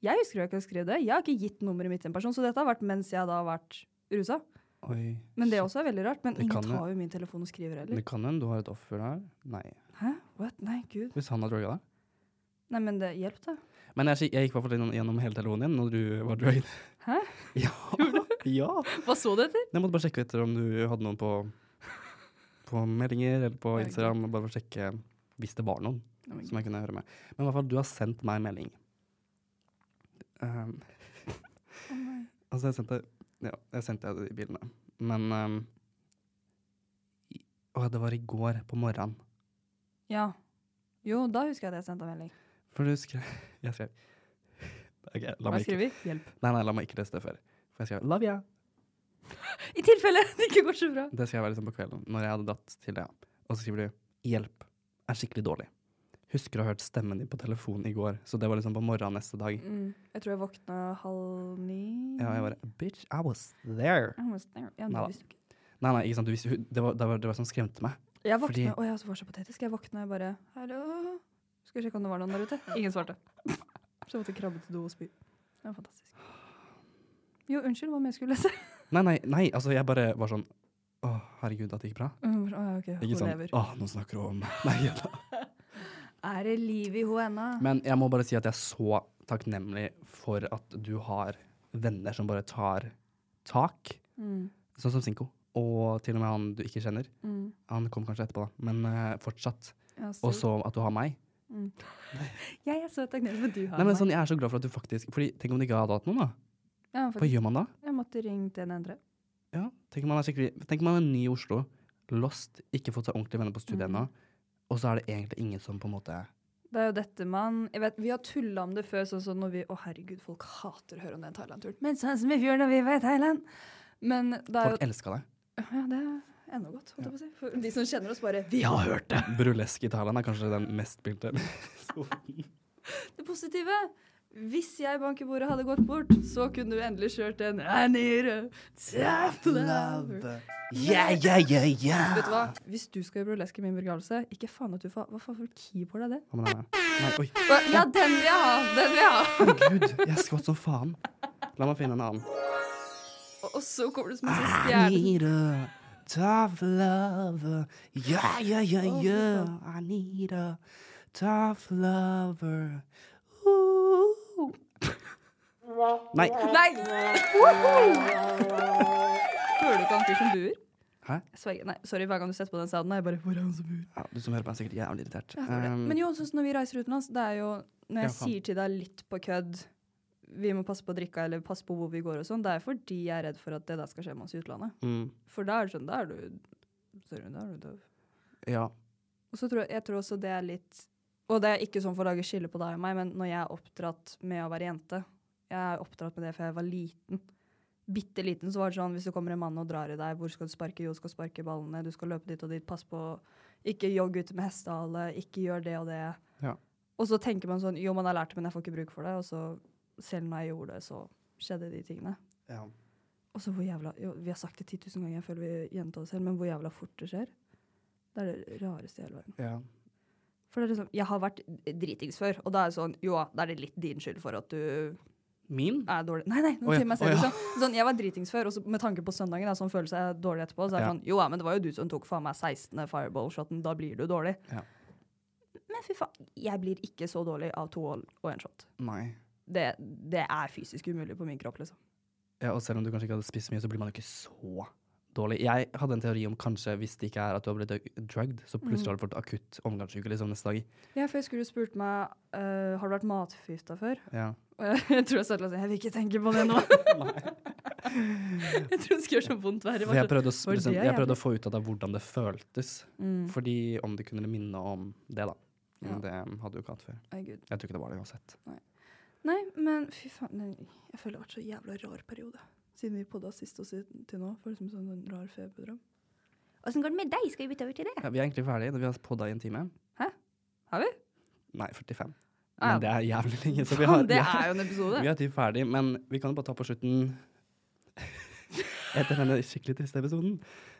Speaker 2: Jeg husker jeg ikke har skrevet det. Jeg har ikke gitt nummeret mitt til en person, så dette har vært mens jeg da har vært rusa.
Speaker 1: Oi.
Speaker 2: Men det også er veldig rart. Men
Speaker 1: Det kan
Speaker 2: ingen
Speaker 1: jo-
Speaker 2: tar jo min telefon og skriver
Speaker 1: Det
Speaker 2: heller.
Speaker 1: kan hende du har et offer der. Nei.
Speaker 2: Hæ? What? Nei, gud.
Speaker 1: Hvis han har drugga deg.
Speaker 2: Nei, men det hjelp da.
Speaker 1: Men jeg, skik- jeg gikk i hvert fall gjennom- gjennom hele telefonen din når du var drugged.
Speaker 2: Hæ?
Speaker 1: Ja. ja.
Speaker 2: Hva så du etter?
Speaker 1: Jeg måtte bare sjekke etter om du hadde noen på, på meldinger eller på
Speaker 2: Herregud.
Speaker 1: Instagram. og Bare for å sjekke hvis det var noen som jeg kunne høre med. Men i hvert fall, du har sendt meg en melding. Ehm, altså, jeg sendte Ja, jeg sendte deg de bildene. Men ehm, i- Å, det var i går på morgenen.
Speaker 2: Ja. Jo, da husker jeg at jeg sendte en melding.
Speaker 1: For du skrev Jeg skrev Ok, la
Speaker 2: Hva
Speaker 1: meg, ikke,
Speaker 2: skriver vi? Hjelp.
Speaker 1: nei, nei, la meg ikke lese det før. For jeg skrev 'love ya'.
Speaker 2: I tilfelle det ikke går så bra.
Speaker 1: Det skrev jeg liksom på kvelden når jeg hadde dratt til det. Og så skriver du 'hjelp'. Er skikkelig dårlig. Husker å ha hørt stemmen din på telefonen i går, så det var liksom på morgenen neste dag.
Speaker 2: Mm. Jeg tror jeg våkna halv ni.
Speaker 1: Ja, jeg bare 'bitch, I was there'.
Speaker 2: I was there. Ja, men
Speaker 1: Neida.
Speaker 2: det visste du ikke.
Speaker 1: Nei, nei, ikke sant. Du visste, hun- det, var, det, var, det var som skremte meg.
Speaker 2: Jeg våkna,
Speaker 1: Fordi-
Speaker 2: Å, jeg var så patetisk. Jeg våkna og bare Hallo? Skal vi sjekke om det var noen der ute? Ingen svarte. Så jeg måtte krabbe til do og spy. Det var fantastisk. Jo, unnskyld, hva mer skulle jeg lese?
Speaker 1: Nei, nei, nei, altså jeg bare var sånn Å, herregud, at det gikk bra.
Speaker 2: Mm, Å ja, ok, hun
Speaker 1: Ikke sånn
Speaker 2: lever.
Speaker 1: Å, nå snakker hun om meg. Nei, da.
Speaker 2: Er det liv i henne ennå?
Speaker 1: Men jeg må bare si at jeg er så takknemlig for at du har venner som bare tar tak,
Speaker 2: Mm,
Speaker 1: sånn som Sinko. Og til og med han du ikke kjenner.
Speaker 2: mm.
Speaker 1: Han kom kanskje etterpå, da, men eh, fortsatt.
Speaker 2: Ja,
Speaker 1: Og
Speaker 2: så-
Speaker 1: så at du har meg.
Speaker 2: Mm. Jeg er så takknemlig for at du har
Speaker 1: Nei, men
Speaker 2: meg.
Speaker 1: sånn, Jeg er så glad for at du faktisk Fordi Tenk om du ikke hadde hatt noen, da.
Speaker 2: ja,
Speaker 1: Hva
Speaker 2: faktisk,
Speaker 1: gjør man da?
Speaker 2: jeg måtte ringt en endre.
Speaker 1: Ja, Tenk om man er skikkelig Tenk om man er ny i Oslo, lost, ikke fått seg ordentlige venner på studiet
Speaker 2: Mm.
Speaker 1: ennå, og så er det egentlig ingen som på en måte
Speaker 2: Det er jo dette man jeg vet, Vi har tulla om det før, sånn som når vi Å, herregud, folk hater å høre om den Thailand-turen. Men sånn som i fjor, da vi var i Thailand. Men det er jo
Speaker 1: Folk elska deg.
Speaker 2: Ja, det er ennå godt, holdt jeg på å si. For de som kjenner oss, bare Vi har hørt det!
Speaker 1: Burlesk i Thailand er kanskje den mest spilte episoden.
Speaker 2: Det positive hvis jeg bank i bordet hadde gått bort, så kunne du endelig kjørt en I need a self-love.
Speaker 1: Yeah, yeah, yeah, yeah.
Speaker 2: Vet du hva? Hvis du skal gjøre burlesk i min begravelse, ikke faen at du får Hva faen for et keyboard er det?
Speaker 1: Hva med denne? Nei, oi.
Speaker 2: Ja, den vil jeg ha! Den vil jeg ha!
Speaker 1: Gud, jeg skvatt som faen. La meg finne en annen.
Speaker 2: Og, og så kommer det som en sånn stjerne.
Speaker 1: a tough lover. Yeah, yeah, yeah,
Speaker 2: Å, fy
Speaker 1: I need a tough lover. Ooh. Nei.
Speaker 2: Nei! Hører du ikke han fyr som buer?
Speaker 1: Hæ?
Speaker 2: Jeg sverger. Nei, sorry, hver gang du setter på den sounden, er jeg bare Hvor er han som buer?
Speaker 1: Ja, du som hører på er sikkert jævlig irritert.
Speaker 2: Ja, det var det.
Speaker 1: Um,
Speaker 2: Men jo, sånn som når vi reiser utenlands, det er jo Når jeg
Speaker 1: Ja, faen.
Speaker 2: sier til deg litt på kødd vi må passe på drikka eller passe på hvor vi går og sånn. Det er fordi jeg er redd for at det der skal skje med oss i utlandet.
Speaker 1: mm,
Speaker 2: For da er det sånn, da er du Sorry, da er du døv.
Speaker 1: ja.
Speaker 2: Og så tror jeg, jeg tror også det er litt Og det er ikke sånn for å lage skille på deg og meg, men når jeg er oppdratt med å være jente Jeg er oppdratt med det fra jeg var liten. Bitte liten så var det sånn hvis det kommer en mann og drar i deg, hvor skal du sparke? Jo, du skal sparke ballene, du skal løpe dit og dit, pass på Ikke jogg ute med hestehale, ikke gjør det og det.
Speaker 1: Ja.
Speaker 2: Og så tenker man sånn Jo, man har lært det, men jeg får ikke bruk for det. Og så selv når jeg gjorde det, så skjedde de tingene.
Speaker 1: ja.
Speaker 2: Og så hvor jævla jo, Vi har sagt det 10 000 ganger, jeg føler vi gjentar det selv, men hvor jævla fort det skjer. Det er det rareste i hele verden.
Speaker 1: Ja.
Speaker 2: For det er liksom, jeg har vært dritings før, og da er det sånn Jo, da er det litt din skyld for at du
Speaker 1: Min?
Speaker 2: er dårlig. Nei, nei,
Speaker 1: Å
Speaker 2: nå
Speaker 1: ja,
Speaker 2: sier jeg meg selv.
Speaker 1: å ja.
Speaker 2: Sånn, sånn, jeg var dritings før, og så, med tanke på søndagen, da, som føler seg dårlig etterpå, så er det
Speaker 1: Ja.
Speaker 2: sånn Jo ja, men det var jo du som tok faen meg 16. fireball-shoten, da blir du dårlig.
Speaker 1: Ja.
Speaker 2: Men fy faen, jeg blir ikke så dårlig av to all og én shot.
Speaker 1: Nei.
Speaker 2: Det, det er fysisk umulig på min kropp, liksom.
Speaker 1: Ja, og selv om du kanskje ikke hadde spist mye, så blir man jo ikke så dårlig. Jeg hadde en teori om kanskje hvis det ikke er at du har blitt drugged, så plutselig har du fått akutt omgangssyke liksom neste dag.
Speaker 2: Ja, for jeg skulle spurt meg øh, Har du vært matforgifta før?
Speaker 1: Ja.
Speaker 2: Og jeg, tror jeg satt og sa Jeg vil ikke tenke på det nå. jeg tror det skulle gjøre så vondt verre.
Speaker 1: For jeg prøvde, å, s-
Speaker 2: var det
Speaker 1: liksom, jeg
Speaker 2: jævlig?
Speaker 1: prøvde å få ut av deg hvordan det føltes.
Speaker 2: Mm.
Speaker 1: Fordi om det kunne minne om det, da. Men
Speaker 2: Ja.
Speaker 1: det hadde du ikke hatt før. Jeg tror ikke det var det uansett.
Speaker 2: Nei, men fy faen. nei, Jeg føler det har vært så jævla rar periode. Siden vi podda sist og siden til nå. Føles som en sånn rar feberdrøm.
Speaker 4: Åssen går det med deg? Skal vi bytte over til det?
Speaker 1: Ja, vi er egentlig ferdige. Vi har podda i en time.
Speaker 2: Har vi?
Speaker 1: Nei, 45.
Speaker 2: Ah, ja.
Speaker 1: Men det er jævlig lenge. Så vi har,
Speaker 2: Faen, det
Speaker 1: vi har-
Speaker 2: er jo en episode.
Speaker 1: Vi er typ ferdig, men vi kan jo bare ta på slutten Etter denne skikkelig triste episoden.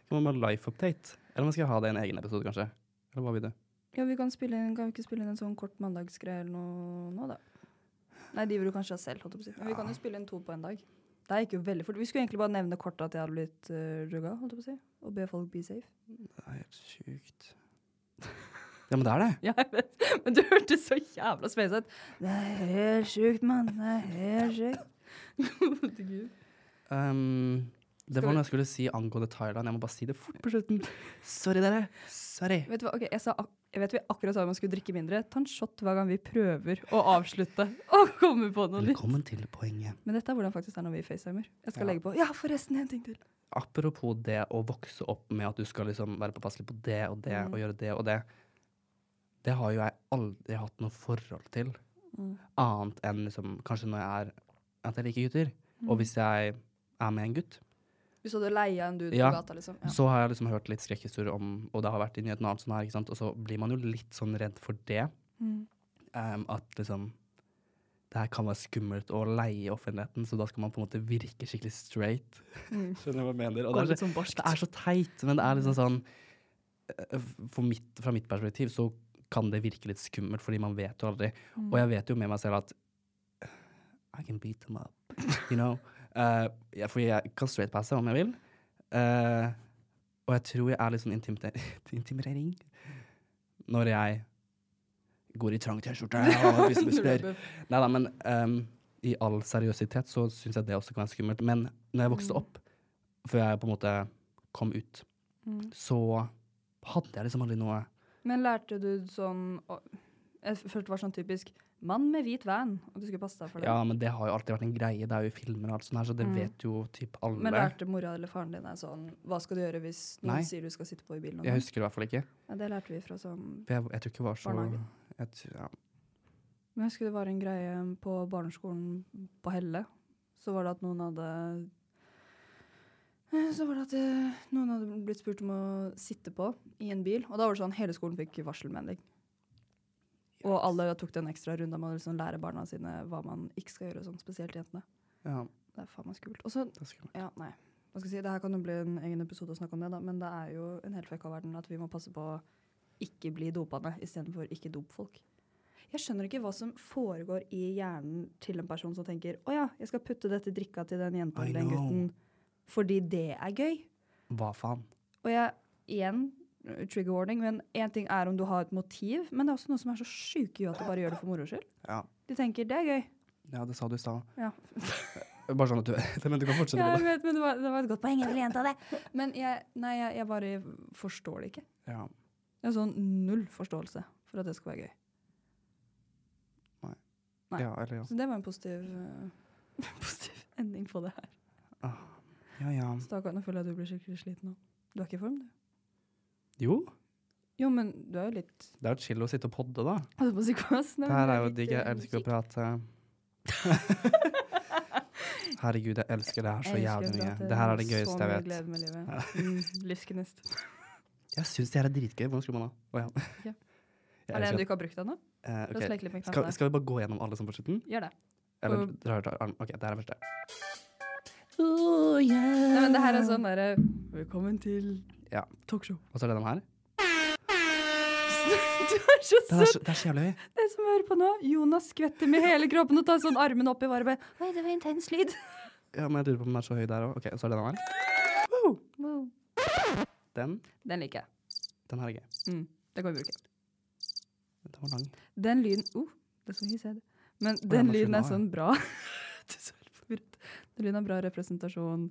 Speaker 1: Kan man ha life update? Eller man skal ha det i en egen episode, kanskje? Eller hva vil du?
Speaker 2: Ja, vi kan, spille inn, kan vi ikke spille inn en sånn kort mandagsgreie eller noe nå, da? Nei, de vil du kanskje ha selv, holdt jeg på å si. Men vi kan jo spille inn to på en dag. Det gikk jo veldig fort. Vi skulle egentlig bare nevne kort at jeg hadde blitt uh, rugga, holdt jeg på å si. Og be folk be safe.
Speaker 1: Det er helt sjukt. Ja, men det er det.
Speaker 2: Ja, jeg vet. Men du hørtes så jævla space ut. Det er helt sjukt, mann. Det er helt sjukt. Gode Gud.
Speaker 1: Um, det
Speaker 2: Skal
Speaker 1: var
Speaker 2: vi-
Speaker 1: noe jeg skulle si angående Thailand. Jeg må bare si det fort på slutten. Sorry, dere. Sorry.
Speaker 2: Vet du hva, ok, jeg, sa ak jeg vet vi akkurat sa man skulle drikke mindre. Ta en shot hver gang vi prøver å avslutte og komme på noe nytt.
Speaker 1: Velkommen til poenget.
Speaker 2: Men dette er hvordan det faktisk er når vi facetimer. Jeg skal
Speaker 1: Ja.
Speaker 2: legge på Ja, forresten, en ting til.
Speaker 1: Apropos det å vokse opp med at du skal liksom være påpasselig på det og det og gjøre det og det. Det har jo jeg aldri hatt noe forhold til.
Speaker 2: Mm.
Speaker 1: Annet enn liksom, kanskje når jeg er at jeg liker gutter. Og hvis jeg er med en gutt,
Speaker 2: Hvis du hadde leia en dude
Speaker 1: Ja.
Speaker 2: på gata, liksom. Ja.
Speaker 1: så har jeg liksom hørt litt skrekkhistorier om Og det har vært i nyhetene og alt sånt her, ikke sant. Og så blir man jo litt sånn redd for det.
Speaker 2: Mm.
Speaker 1: Em, at liksom det her kan være skummelt å leie i offentligheten, så da skal man på en måte virke skikkelig straight. Skjønner du hva jeg mener? Og
Speaker 2: Går
Speaker 1: det er så-
Speaker 2: litt sånn barskt.
Speaker 1: det er så teit, men det er liksom sånn eh, for mitt, Fra mitt perspektiv så kan det virke litt skummelt, fordi man vet jo aldri. Og jeg vet jo med meg selv at I can beat them up, you know. Eh, ja, fordi jeg kan straightpasse om jeg vil. Eh, og jeg tror jeg er litt sånn intimte- intimidering når jeg går i trang T-skjorte og
Speaker 2: Når du er
Speaker 1: vispespirer.
Speaker 2: bøff.
Speaker 1: Nei da, men ehm, i all seriøsitet så syns jeg det også kan være skummelt. Men når jeg
Speaker 2: Mm.
Speaker 1: vokste opp, før jeg på en måte kom ut,
Speaker 2: Mm.
Speaker 1: så hadde jeg liksom aldri noe
Speaker 2: Men lærte du sånn å- Jeg følte det var sånn typisk mann med hvit van, og du skulle passe deg for det. Mm.
Speaker 1: Ja, men det har jo alltid vært en greie, det er jo i filmer og alt sånt her, så det vet jo typ alle.
Speaker 2: Men lærte mora eller faren din deg sånn Hva skal du gjøre hvis noen
Speaker 1: Nei.
Speaker 2: sier du skal sitte på i bilen? Og
Speaker 1: Jeg
Speaker 2: sånn?
Speaker 1: husker det i hvert fall ikke.
Speaker 2: ja, det lærte vi fra sånn
Speaker 1: For jeg, jeg tror ikke det var så
Speaker 2: Barnehage.
Speaker 1: jeg, tror- ja.
Speaker 2: Men jeg husker det var en greie på barneskolen på Helle. Så var det at noen hadde Eh, Så var det at eh, noen hadde blitt spurt om å sitte på i en bil. Og da var det sånn hele skolen fikk varselmelding. Og alle tok den ekstra runda med å liksom lære barna sine hva man ikke skal gjøre, og sånn, spesielt jentene.
Speaker 1: ja,
Speaker 2: Det er faen meg skummelt. Og så,
Speaker 1: det er skummelt.
Speaker 2: ja, nei. Hva skal jeg si, Det her kan jo bli en egen episode å snakke om det, da, men det er jo en hel fucka verden at vi må passe på å ikke bli dopende istedenfor ikke dope folk. Jeg skjønner ikke hva som foregår i hjernen til en person som tenker å ja, jeg skal putte dette drikka til den jenta
Speaker 1: I
Speaker 2: eller den
Speaker 1: know.
Speaker 2: gutten fordi det er gøy.
Speaker 1: Hva faen?
Speaker 2: Og jeg, igjen, trigger warning, men én ting er om du har et motiv, men det er også noen som er så sjuke i huet at de bare gjør det for moro skyld.
Speaker 1: Ja.
Speaker 2: De tenker det er gøy.
Speaker 1: ja, det sa du i stad.
Speaker 2: Ja.
Speaker 1: Bare sånn at du vet det, men du kan fortsette
Speaker 2: Ja,
Speaker 1: på
Speaker 2: jeg
Speaker 1: det.
Speaker 2: vet, men det var, det var et godt poeng.
Speaker 4: Jeg vil gjenta det.
Speaker 2: Men jeg, nei, jeg, jeg bare forstår det ikke.
Speaker 1: Ja.
Speaker 2: Jeg har sånn null forståelse for at det skal være gøy. Nei.
Speaker 1: ja, eller ja.
Speaker 2: Så det var en positiv, eh, positiv ending på det her.
Speaker 1: Ja, ja.
Speaker 2: Stakkar, nå føler jeg at du blir skikkelig sliten nå. Du er ikke i form, du?
Speaker 1: Jo,
Speaker 2: Jo, men du er jo litt
Speaker 1: det er jo chill å sitte og podde, da.
Speaker 2: Altså på psykos. Nei,
Speaker 1: Det her
Speaker 2: men
Speaker 1: er jo
Speaker 2: litt,
Speaker 1: digg. Jeg
Speaker 2: eh,
Speaker 1: elsker å
Speaker 2: musikk.
Speaker 1: prate. Herregud, jeg elsker det her så
Speaker 2: Jeg
Speaker 1: jævlig
Speaker 2: elsker å
Speaker 1: mye.
Speaker 2: prate.
Speaker 1: Det her
Speaker 2: har
Speaker 1: er det
Speaker 2: så
Speaker 1: gøyeste
Speaker 2: mye
Speaker 1: jeg vet.
Speaker 2: glede med livet. Mm, Livsgnist.
Speaker 1: Jeg syns det her er dritgøy. Hvordan skrur man av? Å ja.
Speaker 2: Ja.
Speaker 1: Jeg
Speaker 2: Er det en
Speaker 1: elsker
Speaker 2: du ikke har brukt ennå?
Speaker 1: at- eh,
Speaker 2: La oss
Speaker 1: ok.
Speaker 2: leke litt med
Speaker 1: Skal,
Speaker 2: knappene. Mm.
Speaker 1: skal vi bare gå gjennom alle som på slutten?
Speaker 2: Gjør det.
Speaker 1: Eller
Speaker 2: Og-
Speaker 1: drar drar- arm- OK, det her er første.
Speaker 5: Oh, yeah.
Speaker 2: Nei, men det her er sånn derre Velkommen til
Speaker 1: Ja.
Speaker 2: talkshow.
Speaker 1: Og så er det den her.
Speaker 2: du er så
Speaker 1: Den er
Speaker 2: søt!
Speaker 1: så, det er så jævlig høy.
Speaker 2: Den som hører på nå, Jonas skvetter med hele kroppen og tar sånn armen opp i varme.
Speaker 4: Oi, det var intens lyd.
Speaker 1: Ja, men jeg lurer på om den er så høy der òg. OK, så er det den her.
Speaker 2: Wow.
Speaker 1: Den.
Speaker 2: Den liker jeg.
Speaker 1: Den her er gøy.
Speaker 2: Mm, det kan vi bruke.
Speaker 1: Den var lang.
Speaker 2: Den lyden oh, det er så hissig, det. Men
Speaker 1: ja,
Speaker 2: den
Speaker 1: nå skal den
Speaker 2: lyden er
Speaker 1: av, ja.
Speaker 2: sånn bra. du er så helt forvirret. Den lyden er bra representasjon.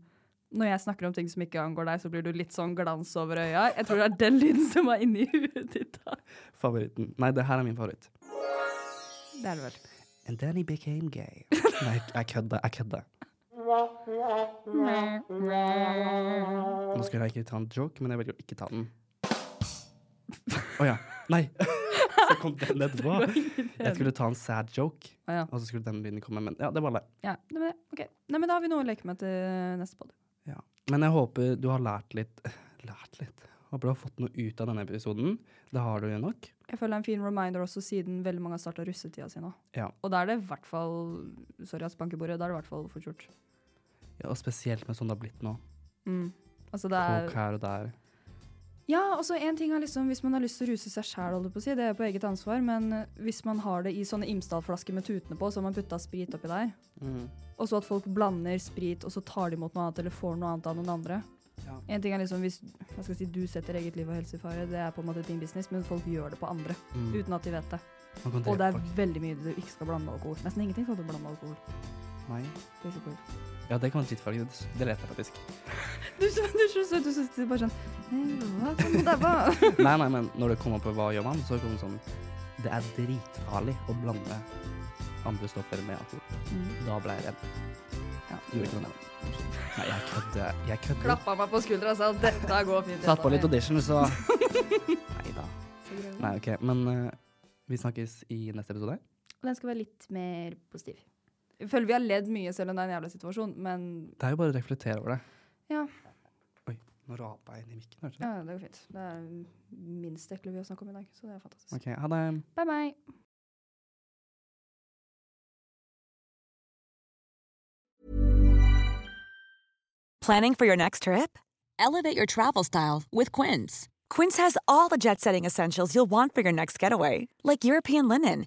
Speaker 2: Når jeg snakker om ting som ikke angår deg, så blir du litt sånn glans over øya. Jeg tror det er den lyden som er inni huet ditt da.
Speaker 1: Favoritten. Nei, det her er min favoritt.
Speaker 2: Det er det vel.
Speaker 1: And then he became gay. Nei, jeg kødder. Jeg kødder. Nå skulle jeg ikke ta en joke, men jeg velger å ikke ta den. Å ja. Nei! Så kom den etterpå. Jeg skulle ta en sad joke,
Speaker 2: Å ja.
Speaker 1: og så skulle den lyden komme. Men ja, det var det.
Speaker 2: ja nei, men, ok. nei, men da har vi noe å leke med til neste podd.
Speaker 1: Ja. Men jeg håper du har lært litt Lært litt? Håper du har fått noe ut av denne episoden. Det har du jo nok.
Speaker 2: Jeg føler det er en fin reminder også siden veldig mange har starta russetida si nå.
Speaker 1: Ja.
Speaker 2: Og da er det i hvert fall Sorry, ass, bank i bordet. Da er det i hvert fall fort gjort.
Speaker 1: ja og spesielt med sånn det har blitt nå.
Speaker 2: Mm. Altså, det er
Speaker 1: Folk her og der.
Speaker 2: Ja, og så en ting er liksom, Hvis man har lyst til å ruse seg sjæl, si, det er på eget ansvar, men eh, hvis man har det i sånne Imsdal-flasker med tutene på, så har man putta sprit oppi der,
Speaker 1: Mm.
Speaker 2: og så at folk blander sprit, og så tar de imot noe annet eller får noe annet av noen andre
Speaker 1: Ja.
Speaker 2: En ting er liksom hvis hva skal jeg si, du setter eget liv og helse i fare, det er på en måte din business, men folk gjør det på andre
Speaker 1: Mm.
Speaker 2: uten at de vet det.
Speaker 1: Man kan
Speaker 2: Og det
Speaker 1: drepe
Speaker 2: er
Speaker 1: folk.
Speaker 2: veldig mye du ikke skal blande med alkohol. Nesten ingenting skal du blande med alkohol.
Speaker 1: Nei.
Speaker 2: basically.
Speaker 1: Ja, det kan være drittfarge. Det, det leter jeg faktisk.
Speaker 2: Du, så- du er så søt, du sitter bare sånn «Nei, hva kan det være?»
Speaker 1: Nei, nei, men når det kommer på hva gjør man, så kommer det sånn Det er dritfarlig å blande andre stoffer med alkohol.
Speaker 2: Mm.
Speaker 1: Da ble jeg redd.
Speaker 2: Ja.
Speaker 1: Gjorde ikke noe med det. Nei, jeg kødder. Jeg kødder.
Speaker 2: Klappa meg på skuldra og sa dette går fint.
Speaker 1: Satt på litt
Speaker 2: dette er-
Speaker 1: audition, så Nei da. Nei, OK. Men eh, vi snakkes i neste episode.
Speaker 4: Og den skal være litt mer positiv.
Speaker 2: Jeg føler vi har ledd mye selv om det er en jævla situasjon, men
Speaker 1: Det er jo bare å reflektere over det.
Speaker 2: Ja.
Speaker 1: Oi, nå rapa jeg inn i mikken. Hørte du det?
Speaker 2: ja, det går fint. Det er minst ekle vi har snakket om i dag, så det er fantastisk.
Speaker 1: OK, ha det.
Speaker 4: Bye, bye.
Speaker 6: Planning for your next trip? Elevate your travel style with Quince. Quince has all the jet setting essentials you'll want for your next getaway, like European linen,